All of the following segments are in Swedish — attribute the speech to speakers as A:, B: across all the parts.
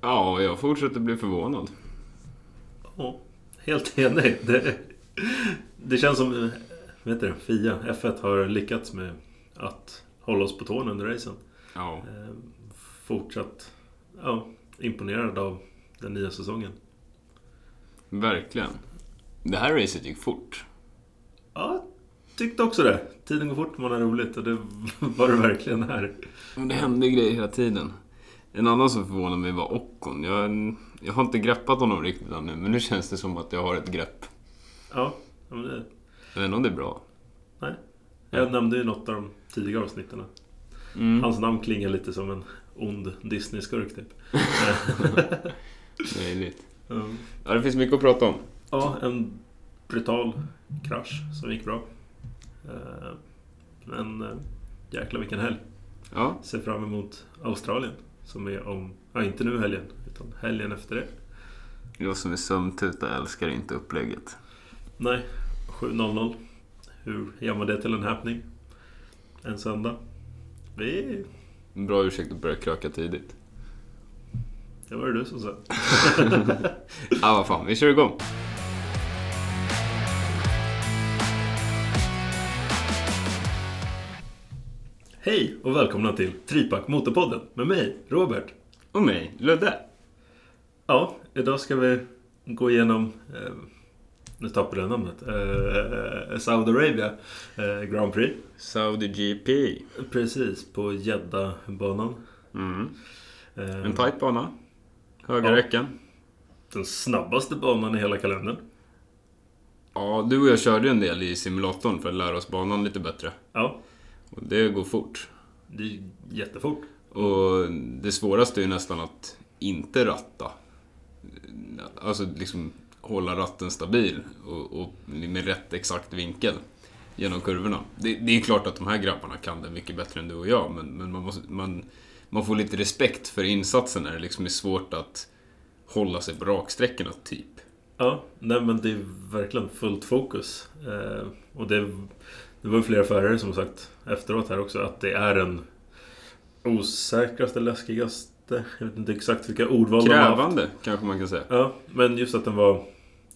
A: Ja, jag fortsätter bli förvånad.
B: Ja, helt enig. Det, det känns som vad heter det, FIA, F1 har lyckats med att hålla oss på tårna under racen.
A: Ja,
B: Eh, Fortsatt ja, imponerad av den nya säsongen.
A: verkligen. Det här racet gick fort.
B: Ja, tyckte också det. Tiden går fort när man har roligt och det var det verkligen här.
A: Men det hände grejer hela tiden. En annan som förvånade mig var Ockon. Jag, jag har inte greppat honom riktigt ännu, men nu känns det som att jag har ett grepp.
B: Ja, ja, men det,
A: Jag vet inte om det är bra.
B: nej. Jag nämnde ju något av de tidigare avsnitten.
A: Mm.
B: Hans namn klingar lite som en ond Disney-skurk typ. Eh,
A: Möjligt.
B: Ja.
A: Ja, det finns mycket att prata om.
B: Ja, en brutal krasch som gick bra. Eh, Men eh, jäklar vilken helg.
A: Ja,
B: Ser fram emot Australien. Som är om, ja inte nu helgen, utan helgen efter det.
A: jag som är sömntuta älskar inte upplägget.
B: Nej, 7.00. Hur gör man det till en happening? En söndag. Vi...
A: En bra ursäkt att börja kröka tidigt.
B: Det var det du som sa.
A: Ja, vad fan, vi kör igång.
B: Hej och välkomna till Tripack Motorpodden med mig, Robert.
A: Och mig, Ludde.
B: Ja, idag ska vi gå igenom... Eh, nu tappade jag namnet. Eh, Saudiarabien eh, Grand Prix.
A: Saudi GP.
B: Precis, på Jeddah-banan.
A: Mm.
B: Eh,
A: En tight bana. Höga
B: Ja.
A: räcken.
B: Den snabbaste banan i hela kalendern.
A: Ja, du och jag körde en del i simulatorn för att lära oss banan lite bättre.
B: Ja,
A: Och det går fort.
B: det är jättefort.
A: Och det svåraste är ju nästan att inte ratta. Alltså liksom hålla ratten stabil och, och med rätt exakt vinkel genom kurvorna. Det, det är klart att de här grabbarna kan det mycket bättre än du och jag, men, men man, måste, man, man får lite respekt för insatsen när det liksom är svårt att hålla sig på raksträckorna, typ.
B: Ja, nej men det är verkligen fullt fokus. Eh, och det, det var ju flera förare som sagt efteråt här också att det är den osäkraste, läskigaste, jag vet inte exakt vilka ordval de har haft.
A: Krävande, kanske man kan säga.
B: Ja, men just att den var...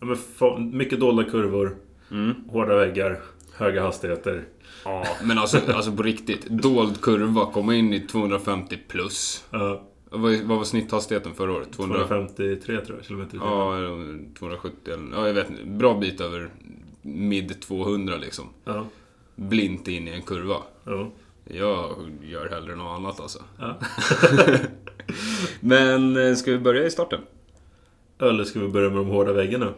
B: Ja, men fa- mycket dolda kurvor,
A: Mm.
B: hårda väggar, höga hastigheter.
A: Ja, men alltså, alltså på riktigt. Dold kurva, komma in i 250 plus.
B: Ja,
A: Vad, vad var snitthastigheten förra året? 200?
B: 253 tror jag, kilometer i timmen.
A: Ja, eller om 270 eller... Ja, jag vet inte. Bra bit över mid 200 liksom.
B: Ja,
A: Blint in i en kurva.
B: ja,
A: Jag gör hellre något annat alltså.
B: ja.
A: Men eh, ska vi börja i starten?
B: Eller ska vi börja med de hårda väggarna?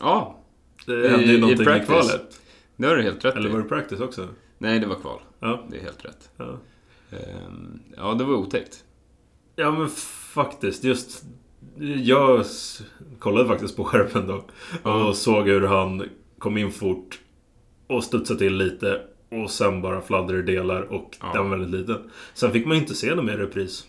A: Ja,
B: Det hände
A: I- i
B: ju någonting i
A: practice.
B: kvalet.
A: det har du helt rätt
B: Eller
A: i.
B: var det practice också?
A: Nej, det var kval.
B: Ja,
A: Det är helt rätt.
B: ja.
A: Ehm, Ja, det var otäckt.
B: Ja men faktiskt, just... Jag s- kollade faktiskt på skärmen då.
A: Ja.
B: Och såg hur han kom in fort. Och studsade till lite. Och sen bara fladdrade i delar och
A: Ja.
B: den var väldigt liten. Sen fick man ju inte se någon mer repris.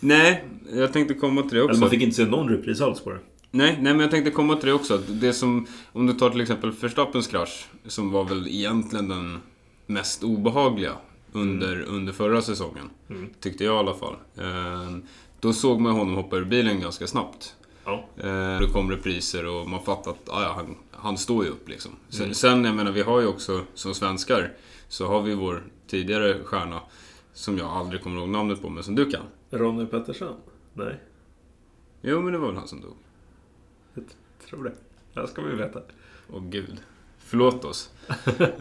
A: Nej, jag tänkte komma till det också.
B: Eller man fick inte se någon repris alls på det.
A: Nej, nej, men jag tänkte komma till det också. Att Det som, om du tar till exempel Verstappens krasch, som var väl egentligen den mest obehagliga under, under förra säsongen.
B: Mm.
A: Tyckte jag i alla fall. Ehm, Då såg man honom hoppa ur bilen ganska snabbt.
B: Ja.
A: Eh, Det kom repriser och man fattade att ah, ja, han, han står ju upp liksom. Sen, sen, jag menar, vi har ju också, som svenskar, så har vi vår tidigare stjärna, som jag aldrig kommer ihåg namnet på, men som du kan.
B: Ronny Pettersson? Nej,
A: Jo, men det var väl han som dog.
B: tror det. Det här ska vi veta.
A: Åh gud. Förlåt oss.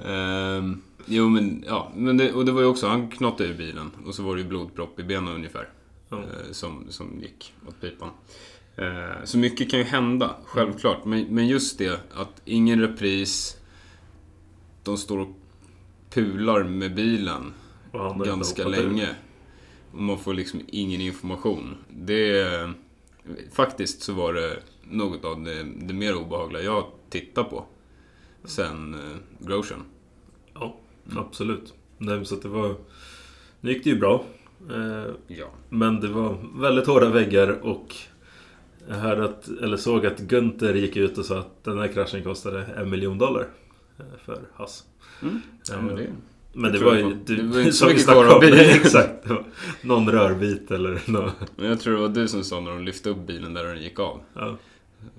A: Ehm, jo men, ja. Men det, och det var ju också, han knatade ur bilen. Och så var det ju blodpropp i benen ungefär.
B: Ja.
A: eh, som, som gick åt pipan. Eh, så mycket kan ju hända, självklart. Men, men just det att ingen repris. De står och pular med bilen
B: Och han har inte
A: ganska
B: hoppat ur.
A: länge. Och man får liksom ingen information. Det är, Faktiskt så var det något av det, det mer obehagliga jag tittar på. Sen eh, Grosjean.
B: Ja,
A: Mm.
B: absolut. Nej, men så att det var... Nu gick det ju bra. Eh,
A: Ja.
B: Men det var väldigt hårda väggar och jag hörde att, eller såg att Günther gick ut och sa att den här kraschen kostade en miljon dollar eh, för Hass.
A: Mm. ja men det,
B: Men det
A: tror
B: var
A: det
B: ju...
A: var-
B: Du,
A: det var inte så
B: som vi
A: mycket kvar
B: snackade
A: av
B: om,
A: bilen.
B: nej, Exakt. Det var Någon rörbit eller något.
A: Men jag tror det var du som sa när de lyfte upp bilen där den gick av.
B: Ja.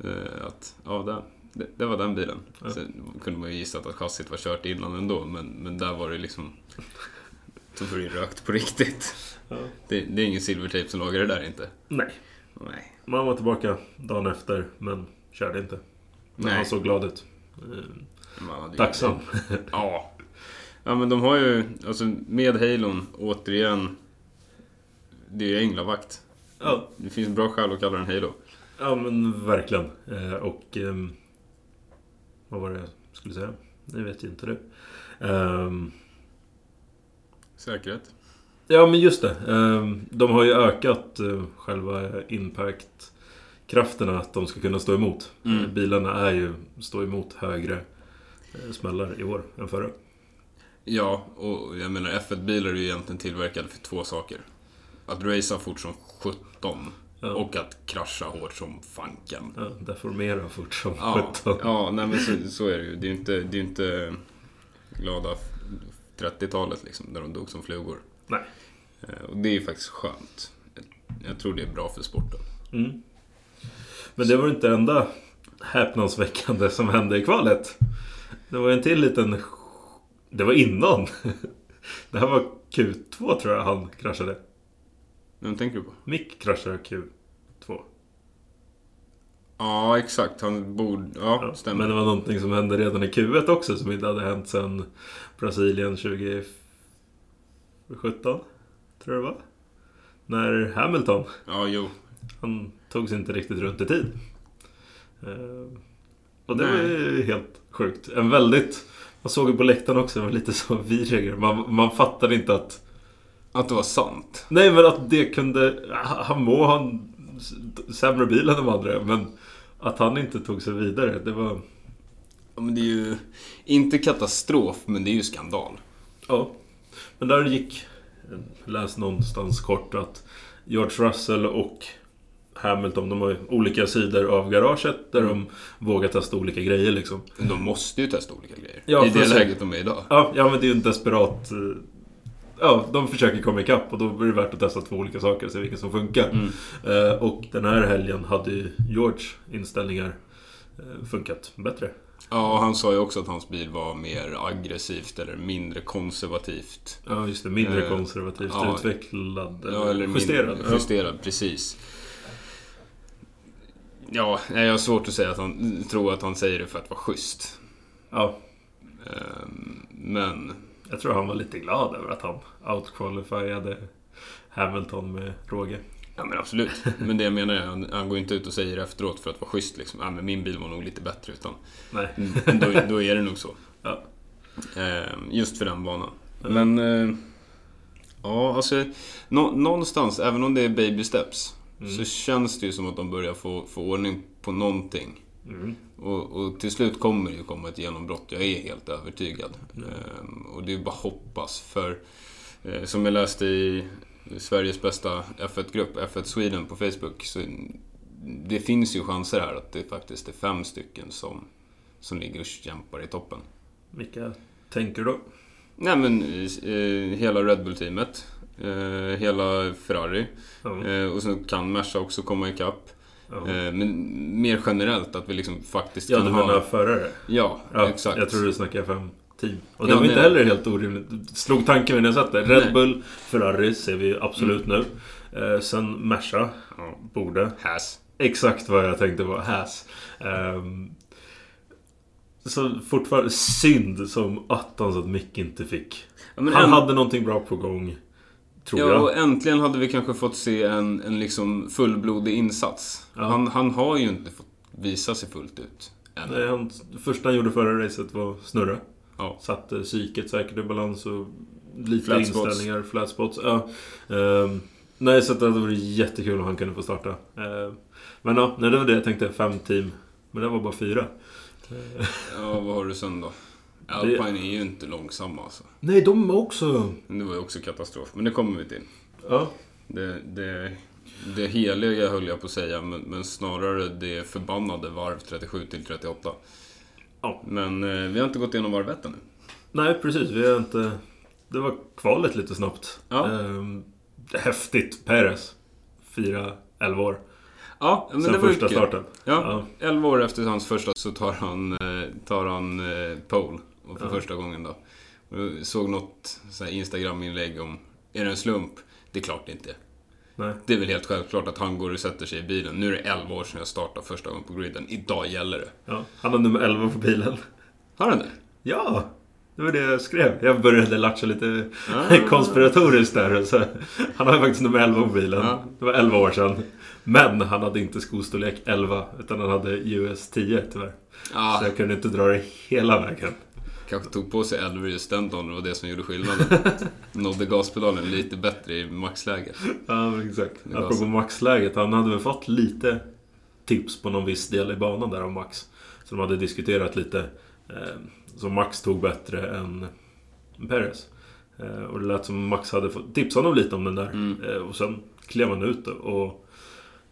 A: eh, Att, ja, där, det, det var den bilen.
B: Ja.
A: Sen kunde man ju gissa att chassit var kört innan ändå, men, men där var det liksom... Då var det ju rökt på riktigt.
B: Ja.
A: Det, det är ingen silvertejp som lagar det där inte.
B: Nej.
A: Nej.
B: Man var tillbaka dagen efter men körde inte. Men
A: Nej.
B: han såg glad ut. Eh,
A: Man hade ju-
B: Tacksam.
A: Ja. Ja men de har ju, alltså med Halon, återigen. Det är ju änglavakt.
B: Ja.
A: Det finns en bra skäl att kalla den Halo.
B: ja men verkligen. Eh, Och... ehm, Vad var det jag skulle säga? Det vet ju inte du. Ehm,
A: Säkerhet.
B: Ja men just det. Ehm, De har ju ökat eh, själva impact-krafterna att de ska kunna stå emot.
A: Mm.
B: Eh, Bilarna är ju stå emot högre eh, smällar i år än förra.
A: Ja, och jag menar F1-bilar är ju egentligen tillverkade för två saker. Att racea fort som 17
B: Ja.
A: och att krascha hårt som fanken.
B: Ja, deformera fort som
A: Ja,
B: sjutton.
A: ja nej men så, så är det ju. Det är ju inte, det är ju inte glada 30-talet liksom, där de dog som flugor.
B: Nej.
A: Eh, Och det är ju faktiskt skönt. Jag tror det är bra för sporten.
B: Mm. Men det var inte det enda häpnadsväckande som hände i kvalet. Det var en till liten... Det var innan. Det här var Q2 tror jag han kraschade.
A: Vem tänker du på?
B: Mick kraschade Q2.
A: Ja, exakt. Han borde... Ja,
B: Ja,
A: stämmer.
B: Men det var någonting som hände redan i Q1 också som inte hade hänt sedan Brasilien 2017. Tror jag det var. När Hamilton
A: Ja, jo.
B: Han tog sig inte riktigt runt i tid. Eh, Och det var
A: Nej.
B: ju helt sjukt. En väldigt... Man såg ju på läktaren också, det var lite som vi reagerade. Man, man fattade inte att...
A: Att det var sant.
B: Nej men att det kunde... Han må ha en s- sämre bil än de andra, men... Att han inte tog sig vidare, det var...
A: Ja, men det är ju... Inte katastrof, men det är ju skandal.
B: Ja. Men där gick... jag Läste någonstans kort att George Russell och Hamilton, de har ju olika sidor av garaget där de vågar testa olika grejer liksom.
A: Men De måste ju testa olika grejer.
B: Ja,
A: I det
B: precis.
A: läget de är idag.
B: Ja, ja men det är ju en desperat... eh, Ja, de försöker komma ikapp och då blir det värt att testa två olika saker och se vilken som funkar.
A: Mm.
B: Eh, och den här helgen hade ju George inställningar eh, funkat bättre.
A: Ja, och han sa ju också att hans bil var mer aggressivt eller mindre konservativt.
B: Ja, just det. Mindre
A: Eh,
B: konservativt
A: ja.
B: utvecklad.
A: Ja, eller min-
B: justerad. Ja.
A: Justerad, precis. Ja, nej, jag har svårt att säga att han tror att han säger det för att vara schysst.
B: ja,
A: Ehm, Men...
B: jag tror han var lite glad över att han outqualifierade Hamilton med råge.
A: Ja men absolut. Men det jag menar är, han, han går ju inte ut och säger efteråt för att vara schysst liksom. Ja men min bil var nog lite bättre utan.
B: Nej.
A: Mm. Då, då är det nog så.
B: Ja.
A: Eh, just för den banan. Men... Eh, ja alltså. Nå, någonstans, även om det är baby steps. Så känns det ju som att de börjar få, få ordning på någonting.
B: Mm.
A: Och, och till slut kommer det ju komma ett genombrott, jag är helt övertygad. Ehm, och det är bara hoppas, för eh, som jag läste i Sveriges bästa F1-grupp, F1 Sweden på Facebook, så det finns ju chanser här att det faktiskt är fem stycken som, som ligger och kämpar i toppen.
B: Vilka tänker du då?
A: Nej men eh, hela Red Bull-teamet, eh, hela Ferrari,
B: Ja.
A: eh, och sen kan Merca också komma ikapp.
B: Ja.
A: Eh, men mer generellt att vi liksom faktiskt
B: Ja,
A: kan
B: du
A: ha...
B: menar förare?
A: Ja,
B: Ja,
A: exakt.
B: Jag tror du snackar fem team. Och det
A: Ja,
B: var
A: nej,
B: inte
A: nej.
B: heller helt orimligt. Slog tanken vid när jag satt där. Red
A: Nej. Mm.
B: Bull, Ferrari ser vi absolut nu. Eh, sen Merca,
A: Ja.
B: borde.
A: Häs.
B: Exakt vad jag tänkte var Has. Ehm, så fortfarande synd som attans att Mick inte fick.
A: Ja, men
B: Han
A: änt-
B: hade någonting bra på gång. Tror
A: ja,
B: jag.
A: och äntligen hade vi kanske fått se en, en liksom fullblodig insats.
B: Ja.
A: Han, han har ju inte fått visa sig fullt ut än.
B: Nej, Eh, han, första han gjorde förra racet var snurra.
A: Ja.
B: Satte psyket säkert i balans och lite
A: Flat spots.
B: inställningar, flat spots. Ja. Ehm, nej, så att det hade varit jättekul om han kunde få starta. Ehm, men ja, nej, det var det jag tänkte. Fem team. Men det var bara fyra. Ehm,
A: ja, vad har du sen då? Alpine är ju inte långsamma alltså.
B: nej, de också.
A: Men Det var ju också katastrof, men det kommer vi till.
B: Ja,
A: Det, det, det heliga höll jag på att säga, men, men snarare det förbannade varv 37 till 38.
B: Ja.
A: Men eh, vi har inte gått igenom varvet ännu.
B: nej precis. Vi har inte det var kvalet lite snabbt.
A: Ja.
B: Ehm, häftigt. Perez. Fyra, elva år.
A: Ja, men det
B: Sen
A: var ju
B: första
A: kul.
B: starten.
A: Ja, 11 år efter hans första så tar han, eh, tar han eh, pole. Och för
B: Ja.
A: första gången då. Och Jag såg något så här Instagram-inlägg om, är det en slump? Det är klart det inte är.
B: Nej.
A: Det är väl helt självklart att han går och sätter sig i bilen. Nu är det 11 år sedan jag startade första gången på griden. Idag gäller det.
B: Ja. Han har nummer 11 på bilen.
A: Har han det?
B: Ja! Det var det jag skrev. Jag började latcha lite
A: Ah.
B: konspiratoriskt där. Så han har faktiskt nummer 11 på bilen.
A: Ja.
B: Det var 11 år sedan. Men han hade inte skostorlek 11 utan han hade US 10 tyvärr.
A: Ja,
B: Så jag kunde inte dra det hela vägen.
A: kanske tog på sig 11 just den dagen. Det var det som gjorde skillnaden. Nådde gaspedalen lite bättre i maxläge.
B: Ja, men exakt.
A: Det alltså- var
B: Apropå
A: så.
B: maxläget. Han hade väl fått lite tips på någon viss del i banan där av Max. Så de hade diskuterat lite. Eh, som Max tog bättre än Perez. Eh, och det lät som Max hade fått tips honom lite om den där.
A: Mm.
B: Eh, och sen klev han ut och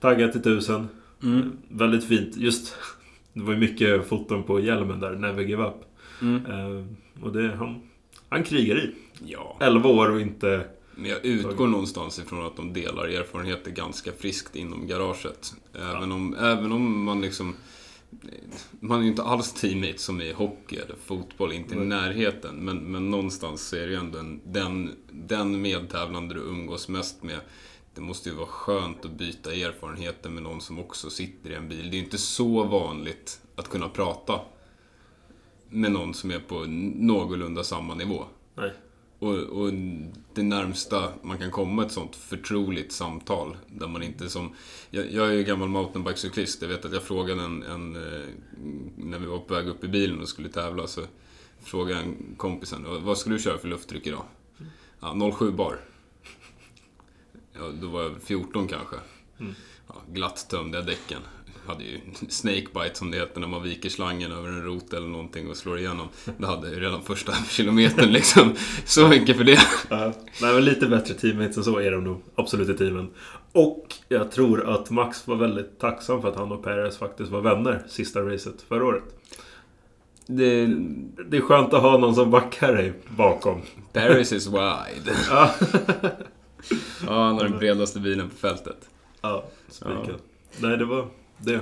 B: taggade till tusen.
A: Mm.
B: Eh, väldigt fint. Just, det var ju mycket foton på hjälmen där. Never give up.
A: Mm.
B: Eh, och det, han, han krigar i.
A: Ja,
B: 11 år och inte...
A: men jag utgår någonstans ifrån att de delar erfarenheter ganska friskt inom garaget. Även om, även om man liksom... Man är ju inte alls teammate som i hockey eller fotboll, inte i
B: Nej.
A: närheten. Men, men någonstans så är det ju ändå en, den, den medtävlande du umgås mest med. Det måste ju vara skönt att byta erfarenheter med någon som också sitter i en bil. Det är ju inte så vanligt att kunna prata med någon som är på någorlunda samma nivå.
B: Nej.
A: Och, och det närmsta man kan komma ett sånt förtroligt samtal där man inte som... Jag, jag är ju gammal mountainbikecyklist. Jag vet att jag frågade en, en... eh, När vi var på väg upp i bilen och skulle tävla så frågade jag en kompisen "Vad- Vad skulle du köra för lufttryck idag? Ja, 07 bar. Ja, då var jag 14 kanske.
B: Mm.
A: Ja, glatt tömde jag däcken. Jag hade ju snakebite som det heter när man viker slangen över en rot eller någonting och slår igenom. Det hade jag ju redan första kilometern liksom. Så mycket för det.
B: Ja, nej, men lite bättre teammates än så är de nog. Absolut i teamen. Och jag tror att Max var väldigt tacksam för att han och Perez faktiskt var vänner sista racet förra året.
A: det
B: Det är skönt att ha någon som backar dig bakom.
A: Paris is wide.
B: Ja,
A: Ja, han har den bredaste bilen på fältet.
B: ja spiken. Nej, det var det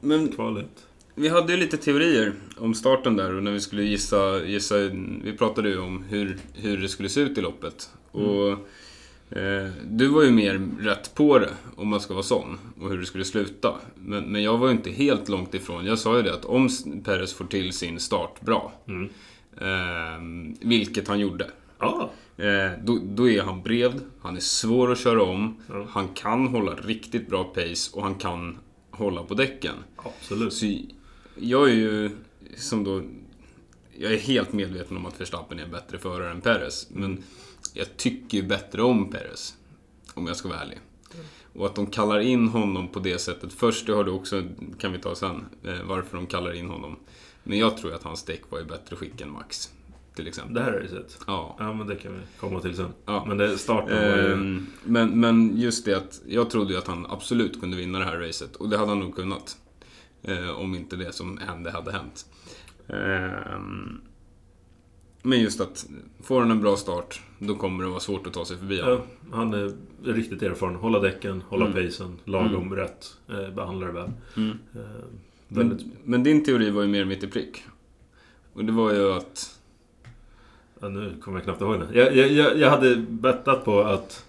A: Men
B: kvalet.
A: Vi hade ju lite teorier om starten där och när vi skulle gissa, gissa vi pratade ju om hur, hur det skulle se ut i loppet.
B: Mm.
A: Och eh, Du var ju mer rätt på det, om man ska vara sån, och hur det skulle sluta. Men, men jag var ju inte helt långt ifrån. Jag sa ju det att om Perez får till sin start bra,
B: Mm.
A: eh, vilket han gjorde,
B: Ja,
A: Eh, då, då är han bred, han är svår att köra om,
B: Ja.
A: han kan hålla riktigt bra pace och han kan hålla på däcken.
B: absolut.
A: Så jag är ju som då... Jag är helt medveten om att Verstappen är en bättre förare än Perez. Men jag tycker ju bättre om Perez. Om jag ska vara ärlig. Och att de kallar in honom på det sättet först, det har du också, kan vi ta sen, eh, varför de kallar in honom. Men jag tror att hans däck var i bättre skick än Max. Till exempel.
B: Det här racet.
A: Ja.
B: Ja, men det kan vi komma till sen.
A: Ja.
B: Men det starten var ju...
A: Ehm, men, men just det att jag trodde ju att han absolut kunde vinna det här racet. Och det hade han nog kunnat. Eh, om inte det som hände hade hänt. Ehm, men just att får han en bra start, då kommer det vara svårt att ta sig förbi
B: Ja,
A: honom.
B: han är riktigt erfaren. Hålla däcken, hålla
A: Mm.
B: pacen, lagom rätt. Eh, behandlar väl.
A: Mm.
B: Eh, väldigt
A: Men, men din teori var ju mer mitt i prick. Och det var ju att...
B: Ja, nu kommer jag knappt ihåg det. Jag, jag, jag, jag hade bettat på att...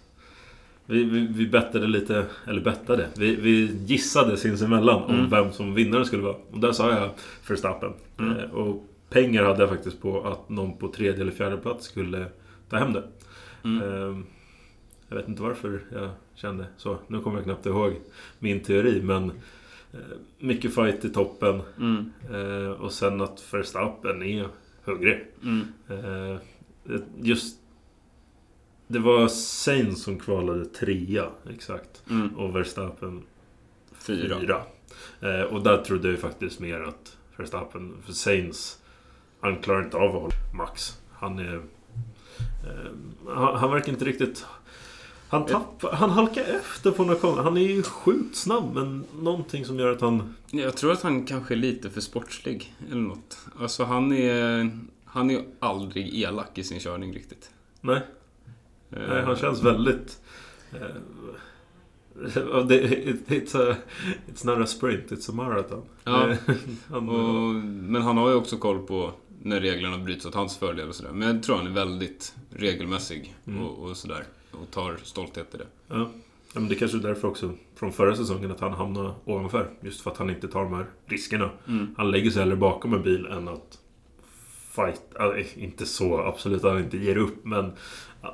B: Vi, vi, vi bettade lite, eller bettade. Vi, vi gissade sinsemellan
A: Mm.
B: om vem som vinnaren skulle vara. Och där sa jag Verstappen.
A: Mm.
B: Eh, och pengar hade jag faktiskt på att någon på tredje eller fjärde plats skulle ta hem det.
A: Mm,
B: Eh, jag vet inte varför jag kände så. Nu kommer jag knappt ihåg min teori, men... Eh, mycket fight i toppen.
A: mm,
B: Eh, och sen att Verstappen är hungrig.
A: mm,
B: Eh, just... Det var Sainz som kvalade trea, exakt.
A: mm.
B: Och Verstappen
A: Fyra.
B: fyra. Eh, och där trodde jag ju faktiskt mer att Verstappen... För Sainz, han klarar inte av att hålla Max. Han är... Eh, han, han verkar inte riktigt... Han, tappar, han halkar efter på något konstigt. Han är ju sjukt snabb, men någonting som gör att han...
A: Jag tror att han kanske är lite för sportslig eller något. Alltså han är, han är aldrig elak i sin körning riktigt.
B: Nej,
A: Eh,
B: nej han känns väldigt... eh, det- it- It's, a, it's not a sprint, it's a marathon.
A: Ja.
B: Eh, han,
A: och, men han har ju också koll på när reglerna bryts åt hans fördel och sådär. Men jag tror han är väldigt regelmässig
B: Mm.
A: och, och sådär. Och tar stolthet i det.
B: ja. Ja, men det kanske är därför också från förra säsongen att han hamnar ovanför. Just för att han inte tar de här riskerna. Han lägger sig hellre bakom en bil än att fight. Alltså, inte så absolut, han inte ger upp. Men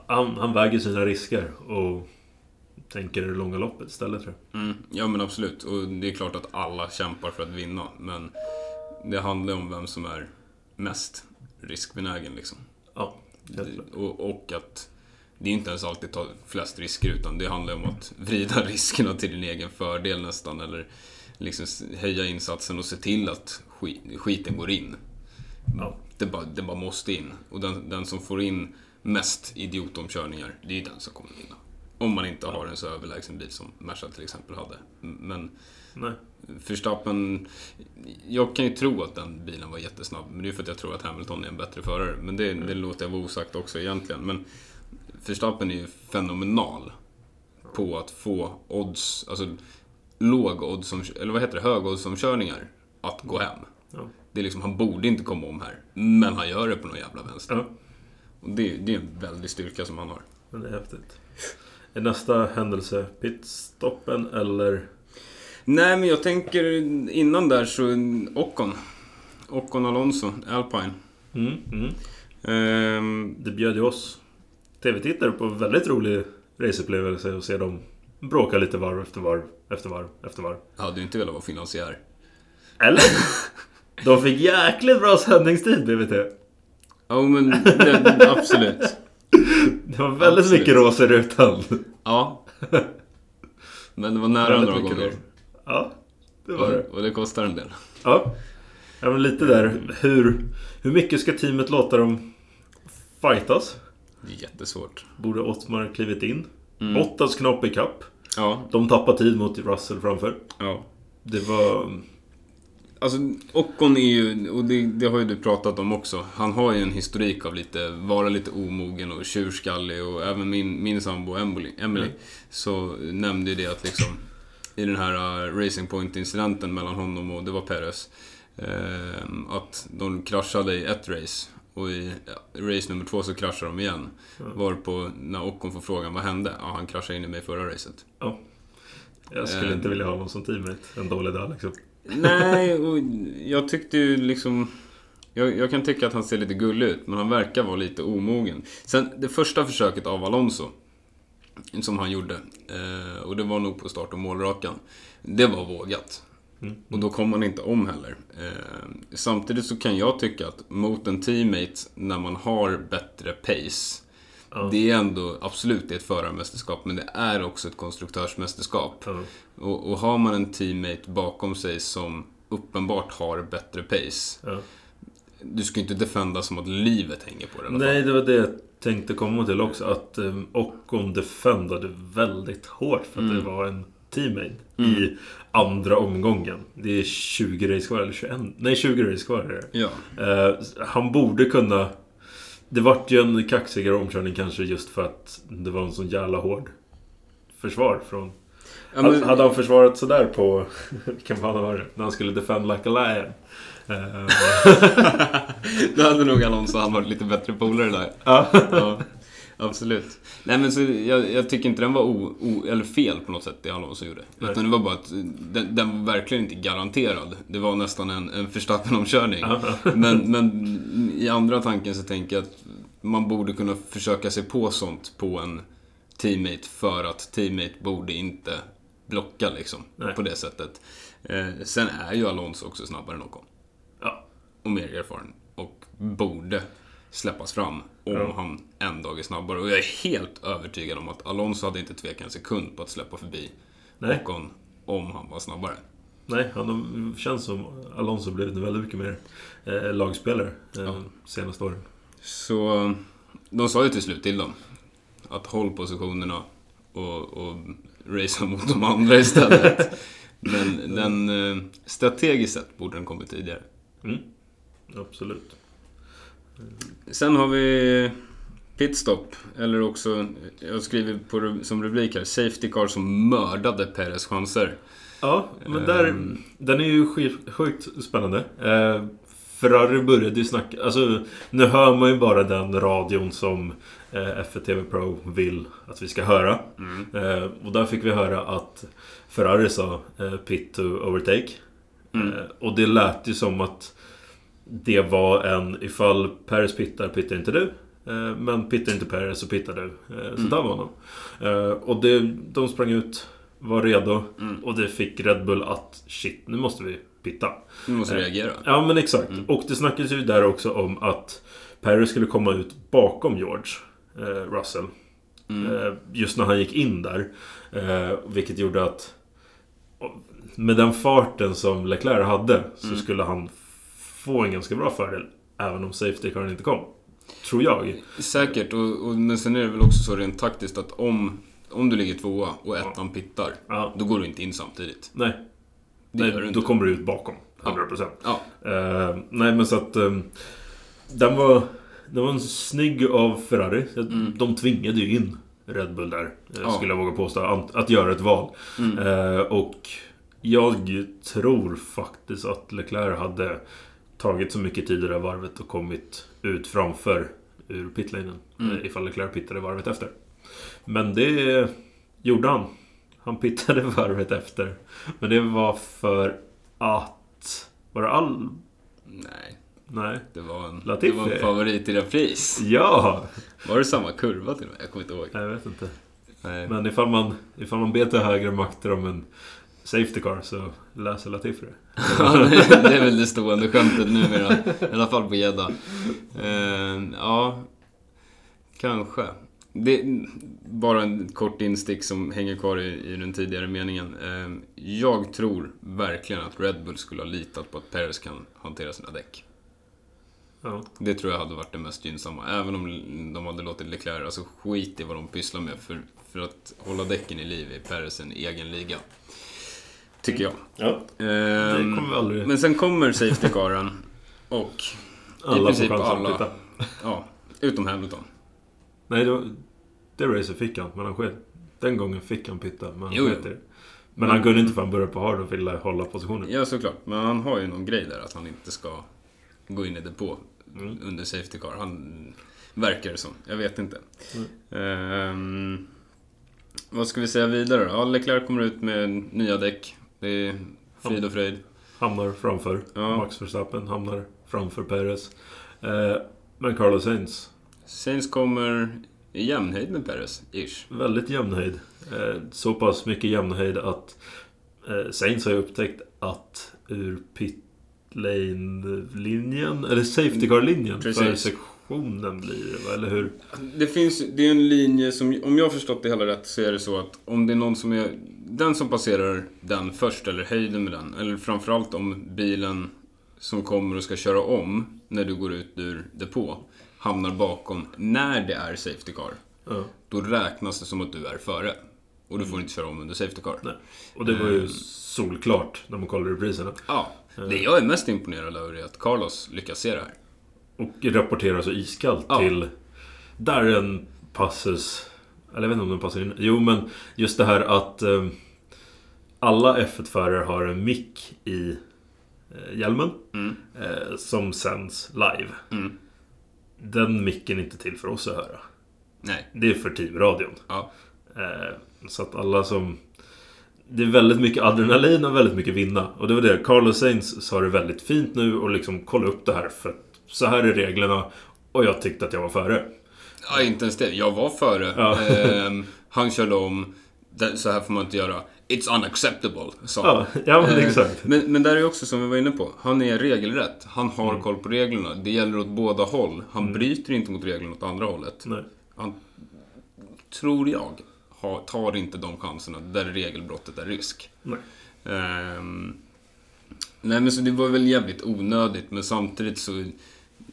B: han, han väger sina risker och tänker det långa loppet istället tror jag.
A: Mm, ja men absolut. Och det är klart att alla kämpar för att vinna. Men det handlar om vem som är mest riskbenägen liksom.
B: Ja, helt klart.
A: Och, och att det är inte ens alltid ta flest risker utan det handlar om att vrida riskerna till din egen fördel nästan. Eller liksom s- höja insatsen och se till att ski- skiten går in.
B: Ja.
A: Den bara, den bara måste in. Och den, den som får in mest idiotomkörningar, det är ju den som kommer vinna. Om man inte har en så överlägsen bil som Merca till exempel hade. Men
B: Nej.
A: Verstappen, jag kan ju tro att den bilen var jättesnabb, men det är för att jag tror att Hamilton är en bättre förare. Men det, det låter jag vara osagt också egentligen. Men Verstappen är ju fenomenal på att få odds, alltså låg odds som, eller vad heter det, hög odds omkörningar att gå hem.
B: Ja.
A: Det är liksom, han borde inte komma om här, men han gör det på någon jävla vänster.
B: ja,
A: Och det, det är en väldig styrka som han har.
B: men det är häftigt. Är nästa händelse pitstoppen eller?
A: Nej, men jag tänker innan där så Ocon. Ocon Alonso, Alpine.
B: Mm, mm.
A: Ehm,
B: Det bjöd ju oss tv-tittare på en väldigt rolig raceupplevelse och se dem bråka lite varv efter varv efter varv efter varv.
A: Jag hade ju inte velat vara finansiär.
B: Eller? De fick jäkligt bra sändningstid BVT.
A: Ja, men det, absolut.
B: Det var väldigt
A: Absolut.
B: mycket rås i rutan.
A: Ja. Men det var nära
B: Väldigt
A: några
B: mycket
A: gånger.
B: rås. Ja, det var det.
A: Och, och det kostar en del.
B: Ja. ja, men lite där. Hur, hur mycket ska teamet låta dem fightas?
A: Det är jättesvårt.
B: Borde Ottmar klivit in? Bottas knopp i kapp.
A: Ja.
B: De tappar tid mot Russell framför.
A: ja.
B: Det var...
A: Alltså, Ockon är ju, och det, det har ju du pratat om också, han har ju en historik av lite, vara lite omogen och tjurskallig och även min, min sambo Emily, Emily så nämnde ju det att liksom i den här eh, Racing Point-incidenten mellan honom och, det var Perez, ehm, att de kraschade i ett race och i ja, race nummer två så kraschar de igen. Varpå, när Ockon får frågan vad hände? Ja, han kraschade in i mig förra racet.
B: Ja. Jag skulle
A: Eh.
B: inte vilja ha någon som teammate. En dålig dag liksom.
A: Nej, och jag tyckte ju liksom... Jag, jag kan tycka att han ser lite gullig ut, men han verkar vara lite omogen. Sen det första försöket av Alonso, som han gjorde, eh, och det var nog på start och målrakan, det var vågat. Och då kom han inte om heller. Eh, samtidigt så kan jag tycka att mot en teammate, när man har bättre pace,
B: Ja.
A: det är ändå absolut det är ett förarmästerskap, men det är också ett konstruktörsmästerskap.
B: Ja.
A: Och, och har man en teammate bakom sig som uppenbart har bättre pace.
B: Ja.
A: Du ska ju inte defenda som att livet hänger på det i alla fall.
B: Nej, det var det jag tänkte komma till också. Att um, Ockon defendade väldigt hårt för att det var en teammate i andra omgången. Det är 20 race kvar, eller 21? Nej, 20 race kvar är det.
A: Ja.
B: Eh, han borde kunna... Det vart ju en kaxigare omkörning kanske just för att det var en sån jävla hård försvar från...
A: ja men,
B: Hade- Hade han försvarat sådär på... Vilken bana var det? När han skulle defend like a lion. Eh,
A: då hade nog Alonso han varit lite bättre polare där.
B: ja.
A: Ja, absolut. Nej men så jag, jag tycker inte den var o, o, eller fel på något sätt, det Alonso gjorde.
B: Nej.
A: Utan det var bara att eh, den, den var verkligen inte garanterad. Det var nästan en, en Verstappen-omkörning. men, men i andra tanken så tänker jag att man borde kunna försöka sig på sånt på en teammate för att teammate borde inte blocka liksom
B: Nej.
A: på det sättet. Eh, sen är ju Alonso också snabbare än Ocon
B: ja.
A: och mer erfaren och borde släppas fram om
B: Ja.
A: han en dag är snabbare. Och jag är helt övertygad om att Alonso hade inte tvekat en sekund på att släppa förbi
B: Nej.
A: Ocon om han var snabbare.
B: Nej, han har, känns som Alonso blivit en väldigt mycket mer eh, lagspelare eh,
A: Ja.
B: senaste åren.
A: Så de sa ju till slut till dem att håll positionerna och, och racea mot de andra istället. Men den eh, strategiskt sett borde den kommit tidigare.
B: Mm. Absolut.
A: Sen har vi Pitstop, eller också, jag skriver på, ru- som rubrik här, Safety Car som mördade Peres chanser.
B: Ja, men där,
A: Ehm.
B: den är ju sk- sjukt spännande. Eh, Ferrari började ju snacka, alltså nu hör man ju bara den radion som eh, F1 TV Pro vill att vi ska höra.
A: Mm.
B: Eh, och där fick vi höra att Ferrari sa eh, pit to overtake.
A: Mm.
B: Eh, och det lät ju som att det var en ifall Perez pittar, pittar inte du. Eh, men pittar inte Perez så pittar du. Eh, så
A: Mm.
B: där var de. Eh, och det, de sprang ut, var redo.
A: Mm.
B: Och det fick Red Bull att shit, nu måste vi pitta.
A: Nu måste vi
B: Eh.
A: reagera.
B: Ja men exakt.
A: Mm.
B: Och det snackades ju där också om att Perez skulle komma ut bakom George eh, Russell.
A: Mm.
B: Eh, Just när han gick in där. Eh, Vilket gjorde att med den farten som Leclerc hade så
A: Mm.
B: skulle han få en ganska bra fördel. Även om safety caren inte kom. Tror jag.
A: Säkert, och, och, men sen är det väl också så rent taktiskt att om, om du ligger tvåa och ettan pittar,
B: Ja,
A: då går du inte in samtidigt.
B: nej,
A: Det
B: nej
A: gör du
B: då
A: inte.
B: kommer du ut bakom.
A: Ja.
B: 100%.
A: Ja.
B: Eh, nej men så att... eh, den var... Den var en snygg av Ferrari.
A: Mm.
B: De tvingade ju in Red Bull där. eh,
A: Ja.
B: Skulle jag våga påstå. Att, att göra ett val.
A: Mm.
B: Eh, och jag tror faktiskt att Leclerc hade tagit så mycket tid i det här varvet och kommit ut framför ur pitlinen.
A: Mm.
B: eh, Ifall Leclerc pittade varvet efter. Men det gjorde han. Han pittade varvet efter. Men det var för att... Var det all...
A: Nej,
B: Nej.
A: det var en, det
B: Latifi.
A: var en favorit i repris.
B: Ja!
A: Var det samma kurva till och med? Jag kommer inte ihåg.
B: Jag vet inte.
A: Nej.
B: Men ifall man, ifall man ber till högre makter om en Safety Car så läser Latifi det.
A: Ja, det det är väl det stående skämtet numera. I alla fall på gädda. Eh, ja, kanske. Det, bara en kort instick som hänger kvar i, i den tidigare meningen. Eh, jag tror verkligen att Red Bull skulle ha litat på att Perez kan hantera sina däck.
B: Ja.
A: Det tror jag hade varit det mest gynnsamma. Även om de hade låtit Leclerc, alltså skit i vad de pysslar med. För, för att hålla däcken i liv är Perez en egen liga. Tycker jag.
B: ja. Det
A: Ehm,
B: kommer vi aldrig...
A: men sen kommer safety caren och i
B: alla får
A: princip
B: chansen
A: alla.
B: att titta.
A: ja, utom Hamilton.
B: Nej, det, var- det racet fick han, men han sket. Den gången fick han pitta, men han
A: Jo, jo.
B: sket i det. Men
A: Men-
B: han kunde inte för han började på hard och ville hålla positionen.
A: Ja, såklart. Men han har ju någon grej där att han inte ska gå in i depå
B: Mm.
A: under safety car. Han verkar det som. Jag vet inte.
B: Mm.
A: Ehm, vad ska vi säga vidare då? Ja, Leclerc kommer ut med nya däck. Det är frid och fröjd.
B: Hamnar framför.
A: Ja.
B: Max Verstappen hamnar framför Perez. Eh, men Carlos Sainz,
A: Sainz kommer i jämnhöjd med Perez, ish.
B: väldigt jämn höjd. Eh, så pass mycket jämn höjd att eh, Sainz har ju upptäckt att ur pit lane-linjen, eller safety car-linjen för
A: Mm, Precis.
B: sektionen blir det va? Eller hur?
A: Det finns det är en linje som, om jag har förstått det hela rätt, så är det så att om det är någon som är, den som passerar den först, eller höjden med den, eller framförallt om bilen som kommer och ska köra om när du går ut ur depå, hamnar bakom när det är safety car,
B: Ja.
A: då räknas det som att du är före. Och du får inte köra om under safety car.
B: Nej. Och det var ju
A: Mm.
B: solklart när man kollar repriserna.
A: Ja, det jag är mest imponerad över är att Carlos lyckas se det här.
B: Och rapporterar så iskallt
A: Ja.
B: till... Där är en passus... Eller jag vet inte om den passar in. Jo, men just det här att... Eh, alla F1-förare har en mick i eh, hjälmen.
A: Mm.
B: Eh, som sänds live.
A: Mm.
B: Den micken är inte till för oss att höra.
A: Nej.
B: Det är för teamradion.
A: Ja.
B: Eh, så att alla som... Det är väldigt mycket adrenalin och väldigt mycket vinna. Och det var det. Carlos Sainz sa det väldigt fint nu och liksom kolla upp det här för att så här är reglerna. Och jag tyckte att jag var före.
A: Ja, inte ens det. Jag var före.
B: Ja.
A: Ehm, han körde om. Det- Så här får man inte göra. It's unacceptable, sa han.
B: Ja, Eh. ja men
A: Ehm,
B: exakt.
A: Men, men där är också, som vi var inne på, han är regelrätt. Han har
B: Mm.
A: koll på reglerna. Det gäller åt båda håll. Han bryter inte mot reglerna åt andra hållet.
B: Nej.
A: Han, tror jag, har, tar inte de chanserna där regelbrottet är risk.
B: Nej.
A: Ehm, nej men så det var väl jävligt onödigt men samtidigt så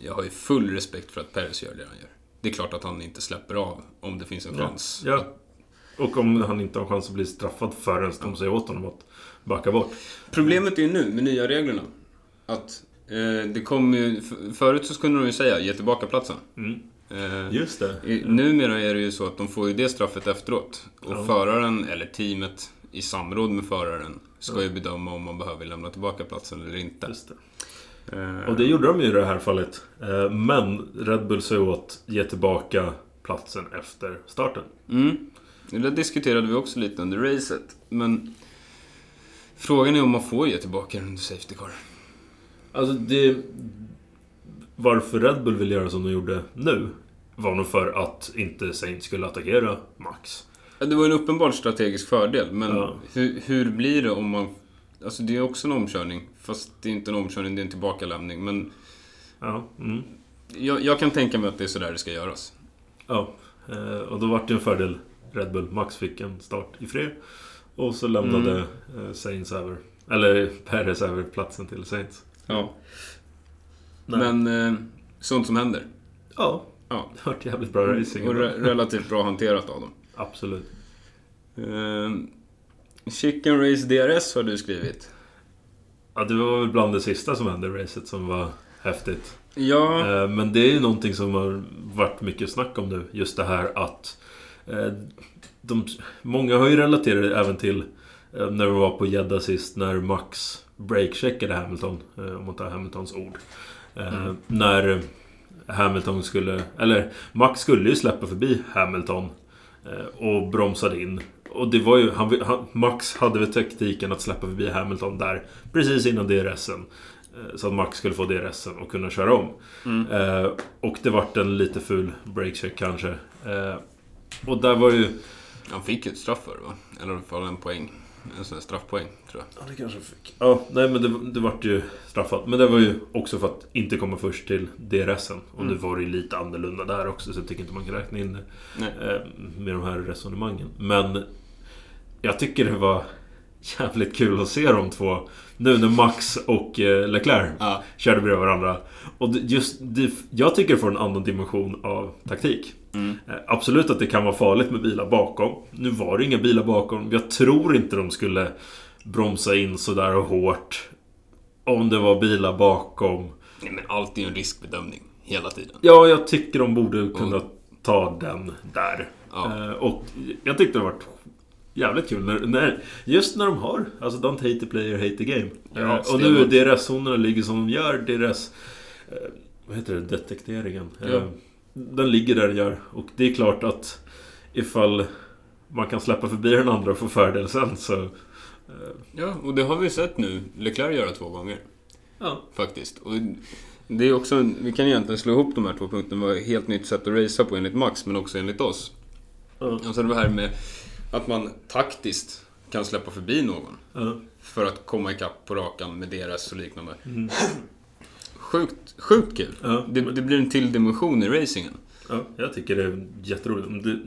A: Jag har ju full respekt för att Perez gör det han gör. Det är klart att han inte släpper av om det finns en chans.
B: Ja. Och om han inte har chans att bli straffad förrän de säger åt honom att backa bort.
A: Problemet är ju nu med nya reglerna att eh, det kommer ju, f- förut så kunde de ju säga ge tillbaka platsen.
B: Mm.
A: Eh,
B: Just det.
A: I- Numera är det ju så att de får ju det straffet efteråt. Och
B: Ja.
A: föraren, eller teamet, i samråd med föraren, ska
B: Ja.
A: ju bedöma om man behöver lämna tillbaka platsen eller inte.
B: Just det.
A: Eh,
B: Och det gjorde de ju i det här fallet. Eh, Men Red Bull sa åt ge tillbaka platsen efter starten.
A: Mm. Det där diskuterade vi också lite under racet. Men frågan är om man får ge tillbaka den under Safety Car.
B: Alltså det... Varför Red Bull ville göra som de gjorde nu var nog för att inte Saint skulle attackera Max.
A: Ja, Det var en uppenbar strategisk fördel, men
B: Ja.
A: hur, hur blir det om man... Alltså det är också en omkörning, fast det är inte en omkörning, det är en tillbakalämning. Men
B: Ja, mm.
A: jag, jag kan tänka mig att det är sådär det ska göras.
B: ja. Eh, och då var det ju en fördel Red Bull. Max fick en start i fred. Och så lämnade mm. Saints över. Eller Perez över platsen till Saints.
A: Ja.
B: Nej.
A: Men eh, sånt som händer.
B: Ja. Mm.
A: Ja.
B: Det vart jävligt bra racing.
A: Och re- relativt bra hanterat av dem.
B: Absolut.
A: Ehm, Chicken Race DRS har du skrivit.
B: Ja, det var väl bland det sista som hände i racet som var häftigt.
A: Ja,
B: Eh, Men det är ju någonting som har varit mycket snack om nu. Just det här att... eh, De, många har ju relaterat det även till eh, när vi var på Jeddah sist när Max breakcheckade Hamilton. eh, Om man tar Hamiltons ord. Eh,
A: Mm.
B: När Hamilton skulle... Eller Max skulle ju släppa förbi Hamilton. eh, Och bromsade in. Och det var ju... Han, han, Max hade väl taktiken att släppa förbi Hamilton där. Precis innan DRSen. eh, Så att Max skulle få DRSen och kunna köra om.
A: mm.
B: Eh, och det vart en lite ful breakcheck kanske. Eh, och där var ju...
A: han fick ju ett straff för det va? Eller i alla fall en poäng. En sån här straffpoäng, tror jag.
B: Ja, det kanske fick. Ja, nej men det, det vart ju straffat. Men det var ju också för att inte komma först till DRSen. Och
A: Mm.
B: nu var det ju lite annorlunda där också så jag tycker inte man kan räkna in det.
A: Nej.
B: eh, med de här resonemangen. Men jag tycker det var jävligt kul att se de två. Nu när Max och eh, Leclerc
A: Ja.
B: körde bredvid varandra. Och det- just, det, jag tycker det får en annan dimension av taktik.
A: Mm.
B: Eh, Absolut att det kan vara farligt med bilar bakom. Nu var det inga bilar bakom. Jag tror inte de skulle bromsa in sådär hårt. Om det var bilar bakom.
A: Nej, men allt är ju en riskbedömning. Hela tiden.
B: Ja, jag tycker de borde kunna ta den där.
A: Ja.
B: Eh, Och jag tyckte det var jävligt kul. När, när, just när de har, alltså don't hate the player, hate the game.
A: Ja,
B: Eh, och nu
A: stenhårt.
B: deras zonerna ligger som de gör, deras... eh, Vad heter det? Detekteringen. Eh,
A: Ja.
B: Den ligger där den gör. Och det är klart att ifall man kan släppa förbi den andra och få fördel sen så... eh,
A: Ja, och det har vi sett nu Leclerc göra två gånger.
B: Ja.
A: Faktiskt. Och det är också en, vi kan egentligen slå ihop de här två punkterna. Det var ett helt nytt sätt att racea på enligt Max, men också enligt oss.
B: Ja.
A: Alltså det här med att man taktiskt kan släppa förbi någon.
B: ja.
A: För att komma ikapp på rakan med deras och liknande. Sjukt, sjukt kul.
B: Mm. Ja.
A: Det, det blir en till dimension i racingen.
B: Ja, jag tycker det är jätteroligt. Om Det,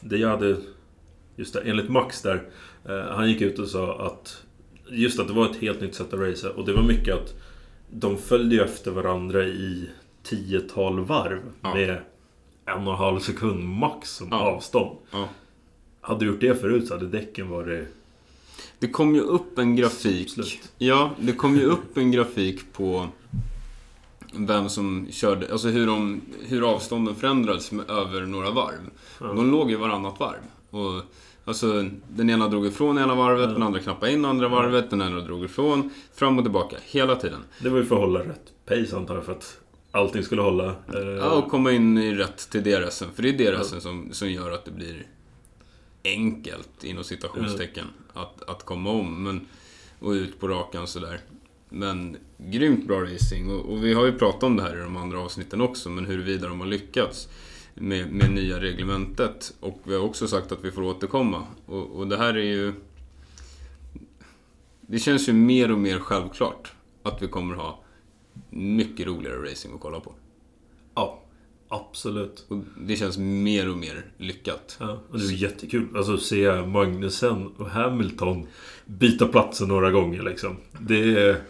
B: det jag hade... Just det, enligt Max där. Eh, han gick ut och sa att... Just att det var ett helt nytt sätt att racea. Och det var mycket att... De följde ju efter varandra i tiotal varv.
A: Ja.
B: Med en och en halv sekund max som
A: Ja.
B: avstånd.
A: Ja.
B: Hade du gjort det förut så hade däcken varit...
A: Det kom ju upp en grafik.
B: Slut.
A: Ja, det kom ju upp en grafik på vem som körde, alltså hur, de, hur avstånden förändrades med, över några varv.
B: Ja.
A: De låg ju varannat varv. Och, alltså, den ena drog ifrån ena varvet,
B: Ja.
A: den andra knappade in andra varvet, den andra drog ifrån. Fram och tillbaka, hela tiden.
B: Det var ju för att hålla rätt pace antar jag för att allting skulle hålla. Eh,
A: Ja, och komma in i rätt till DRSen. För det är DRSen som, som gör att det blir enkelt, inom citationstecken, att, att komma om. Men, och ut på rakan sådär. Men grymt bra racing. Och, och vi har ju pratat om det här i de andra avsnitten också, men huruvida de har lyckats med, med nya reglementet. Och vi har också sagt att vi får återkomma. Och, och det här är ju... Det känns ju mer och mer självklart att vi kommer ha mycket roligare racing att kolla på.
B: ja, absolut.
A: Och det känns mer och mer lyckat.
B: Ja, och det är jättekul. Alltså att se Magnusen och Hamilton byta platser några gånger liksom. Det, är-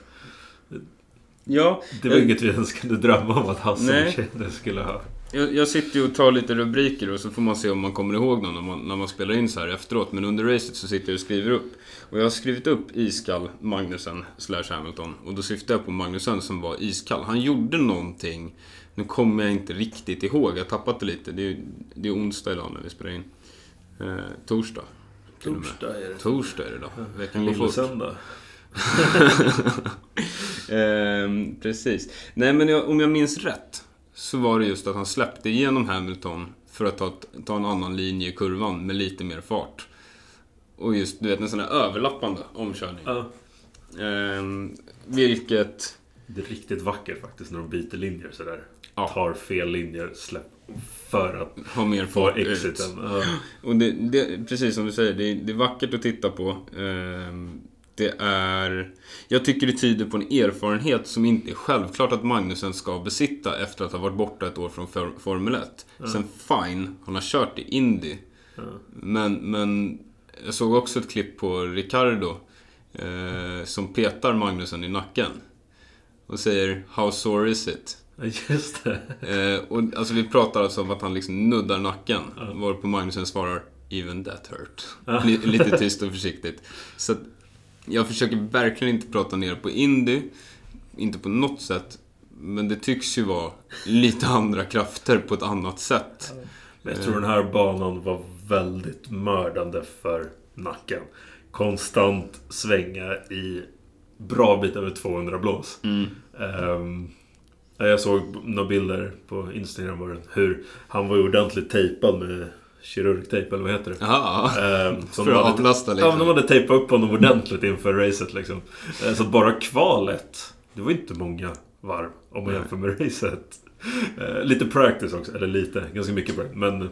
A: Ja, eh,
B: det var
A: Jag-
B: inget vi ens kunde drömma om att Hasse
A: Nej.
B: och Tjene skulle ha.
A: jag, jag sitter ju och tar lite rubriker och så får man se om man kommer ihåg någon när man, när man spelar in så här efteråt. Men under racet så sitter jag och skriver upp. Och jag har skrivit upp iskall Magnusen slash Hamilton. Och då syftar jag på Magnusen som var iskall. Han gjorde någonting Nu kommer jag inte riktigt ihåg, jag har tappat det lite. Det är, det är onsdag idag när vi spelar in. Eh, torsdag. till och med.
B: Torsdag är det.
A: Torsdag är det idag. Veckan går fort.
B: Lillesöndag.
A: Ehm, precis. Nej, men jag, om jag minns rätt så var det just att han släppte igenom Hamilton för att ta, ett- ta en annan linje i kurvan med lite mer fart. Och just, du vet, en sån här överlappande omkörning.
B: Ja.
A: Ehm, vilket...
B: Det är riktigt vackert faktiskt när de byter linjer sådär.
A: Ja.
B: Tar fel linjer, släpp för att
A: Har mer
B: få
A: fart ut.
B: exiten. Ja.
A: Och det, det, precis som du säger, det, är- det är vackert att titta på. Ehm, Det är... Jag tycker det tyder på en erfarenhet som inte är självklart att Magnusen ska besitta efter att ha varit borta ett år från for- Formel 1. Sen fine, han har kört i Indy.
B: Ja.
A: Men, men jag såg också ett klipp på Ricardo eh, som petar Magnusen i nacken. Och säger “How sore is it?”
B: Ja, Just det.
A: Eh, och, alltså vi pratar alltså om att han liksom nuddar nacken.
B: Ja.
A: Varpå Magnusen svarar “Even that hurt”. Li- lite tyst och försiktigt. Så att, jag försöker verkligen inte prata ner på Indy. Inte på något sätt. Men det tycks ju vara lite andra krafter på ett annat sätt.
B: Men jag tror den här banan var väldigt mördande för nacken. Konstant svänga i bra bit över 200 blås. Ehm, ja, jag såg några bilder på Instagram var det, hur han var ju ordentligt tejpad med kirurgtejp eller vad heter det?
A: Jaha,
B: Ehm, som
A: för att
B: hade-
A: avlasta
B: Ja, men de
A: lite.
B: hade tejpat upp honom ordentligt inför racet liksom. Eh, Så bara kvalet, det var inte många varv om man
A: Nej.
B: jämför med racet. Eh, Lite practice också, eller lite, ganska mycket practice. Men,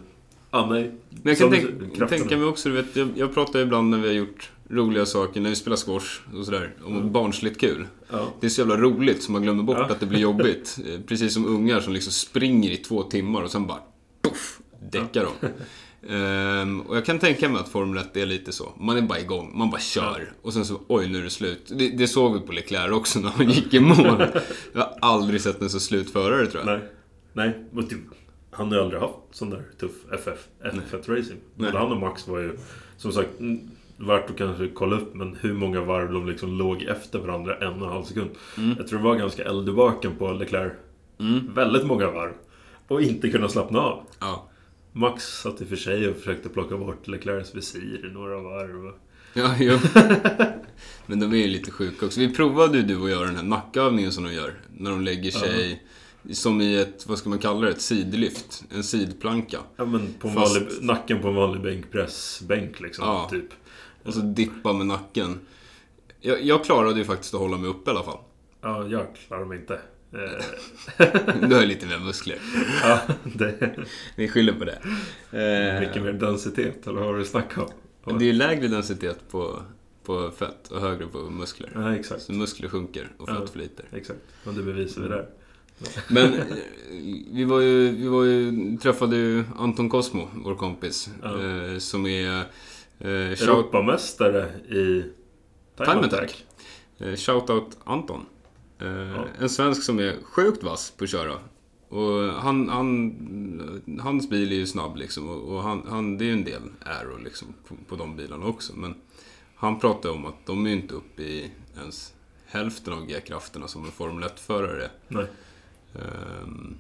B: ja nej.
A: Men jag kan
B: Som
A: tänk,
B: krafterna.
A: tänka mig också, du vet, jag, jag pratar ju ibland när vi har gjort roliga saker, när vi spelar squash och sådär, om
B: Mm.
A: barnsligt kul.
B: Ja.
A: Det är så jävla roligt så man glömmer bort
B: Ja.
A: att det blir jobbigt. Eh, Precis som ungar som liksom springer i två timmar och sen bara poff, däckar de. Ehm, och jag kan tänka mig att Formel 1 är lite så. Man är bara igång, man bara kör. Och sen så, oj nu är det slut. Det, det såg vi på Leclerc också när han gick i mål. Jag har aldrig sett en så slutförare tror jag.
B: Nej. Nej, men typ, han har ju aldrig haft sån där tuff FF, FF-racing.
A: Nej.
B: Både han och Max var ju, som sagt, mm, värt att kanske kolla upp. Men hur många varv de liksom låg efter varandra en och en halv sekund.
A: Mm.
B: Jag tror det var ganska eld i baken på Leclerc. Väldigt många varv. Och inte kunna slappna av.
A: Ja.
B: Max satt i och för sig och försökte plocka bort Leclercs visir i några varv.
A: Ja, jo. Men de är ju lite sjuka också. Vi provade ju du och jag den här nackövningen som de gör. När de lägger sig som i ett, vad ska man kalla det, ett sidlyft. En sidplanka.
B: Ja men på en
A: Fast-
B: vanlig, nacken på en vanlig bänkpressbänk liksom.
A: Ja.
B: Typ.
A: Och så dippa med nacken. Jag, jag klarade ju faktiskt att hålla mig uppe i alla fall.
B: Ja, jag klarar mig inte. Eh,
A: Du har ju lite mer muskler.
B: ja, det...
A: Vi skyller på det.
B: Mycket
A: Eh,
B: mer densitet, eller vad har du snackat om?
A: det är ju lägre densitet på, på fett och högre på muskler.
B: Ja, exakt.
A: Så muskler sjunker och
B: Ja.
A: fett flyter.
B: Exakt. Och det bevisar vi där.
A: Men eh, vi, var ju, vi var ju, träffade ju Anton Cosmo, vår kompis.
B: Ja.
A: Eh, som är... Eh, shout,
B: Europamästare i
A: Time Attack. eh, shoutout Anton. Eh, En svensk som är sjukt vass på att köra. Och han, han, hans bil är ju snabb liksom. Och, och han, han, det är ju en del aero liksom på, på de bilarna också. Men han pratade om att de är ju inte uppe i ens hälften av G-krafterna som en Formel 1-förare är.
B: Nej.
A: Ehm,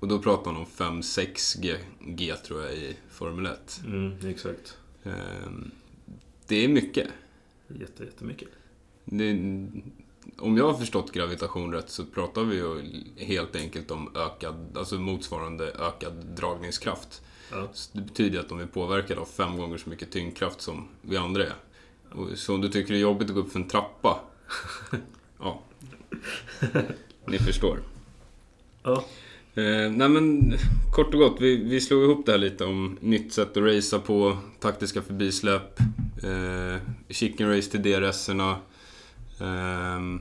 A: och då pratar han om 5-6 G, G tror jag i Formel 1.
B: Mm, exakt.
A: Ehm, det är mycket.
B: Jätte, jättemycket.
A: Det, om jag har förstått gravitation rätt så pratar vi ju helt enkelt om ökad, alltså motsvarande ökad dragningskraft.
B: Ja.
A: Så det betyder att de är påverkade av fem gånger så mycket tyngdkraft som vi andra är. Och, så om du tycker det är jobbigt att gå upp för en trappa, ja, ni förstår.
B: Ja.
A: Eh, nej men kort och gott, vi, vi slog ihop det här lite om nytt sätt att racea på, taktiska förbisläpp, eh, chicken race till DRS-erna. Eh,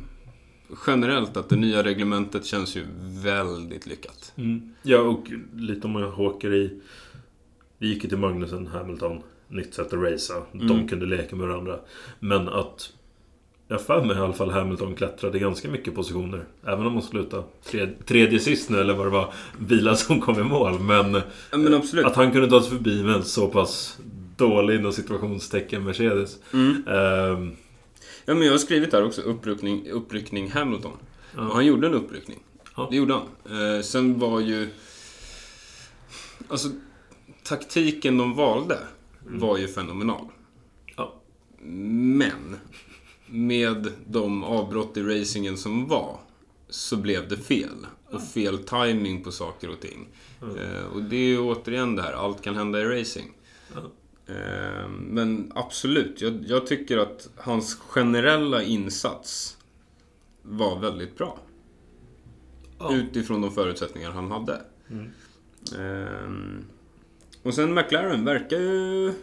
A: generellt att det nya reglementet känns ju väldigt lyckat.
B: Mm. ja, och lite om jag håker i... Vi gick ju till Magnusen, Hamilton. Nytt sätt att racea.
A: Mm.
B: De kunde leka med varandra. Men att... Jag har för mig i alla fall Hamilton klättrade ganska mycket positioner. Även om han slutade tredje, tredje sist nu, eller vad det var. Bilar som kom i mål. Men...
A: Ja men absolut.
B: Att han kunde ta sig förbi med en så pass dålig inom situationstecken Mercedes.
A: Mm.
B: Ehm,
A: Ja men jag har skrivit här också, uppryckning, uppryckning Hamilton. Och
B: ja.
A: han gjorde en uppryckning.
B: Ja.
A: Det gjorde han. Eh, sen var ju... Alltså, taktiken de valde var ju fenomenal.
B: Mm. Ja.
A: Men, med de avbrott i racingen som var, så blev det fel. Och fel timing på saker och ting. Eh, och det är ju återigen det här, allt kan hända i racing.
B: Ja.
A: Eh, men absolut, jag, jag tycker att hans generella insats var väldigt bra.
B: Ja. Mm.
A: Utifrån de förutsättningar han hade. Ehm, och sen McLaren verkar ju...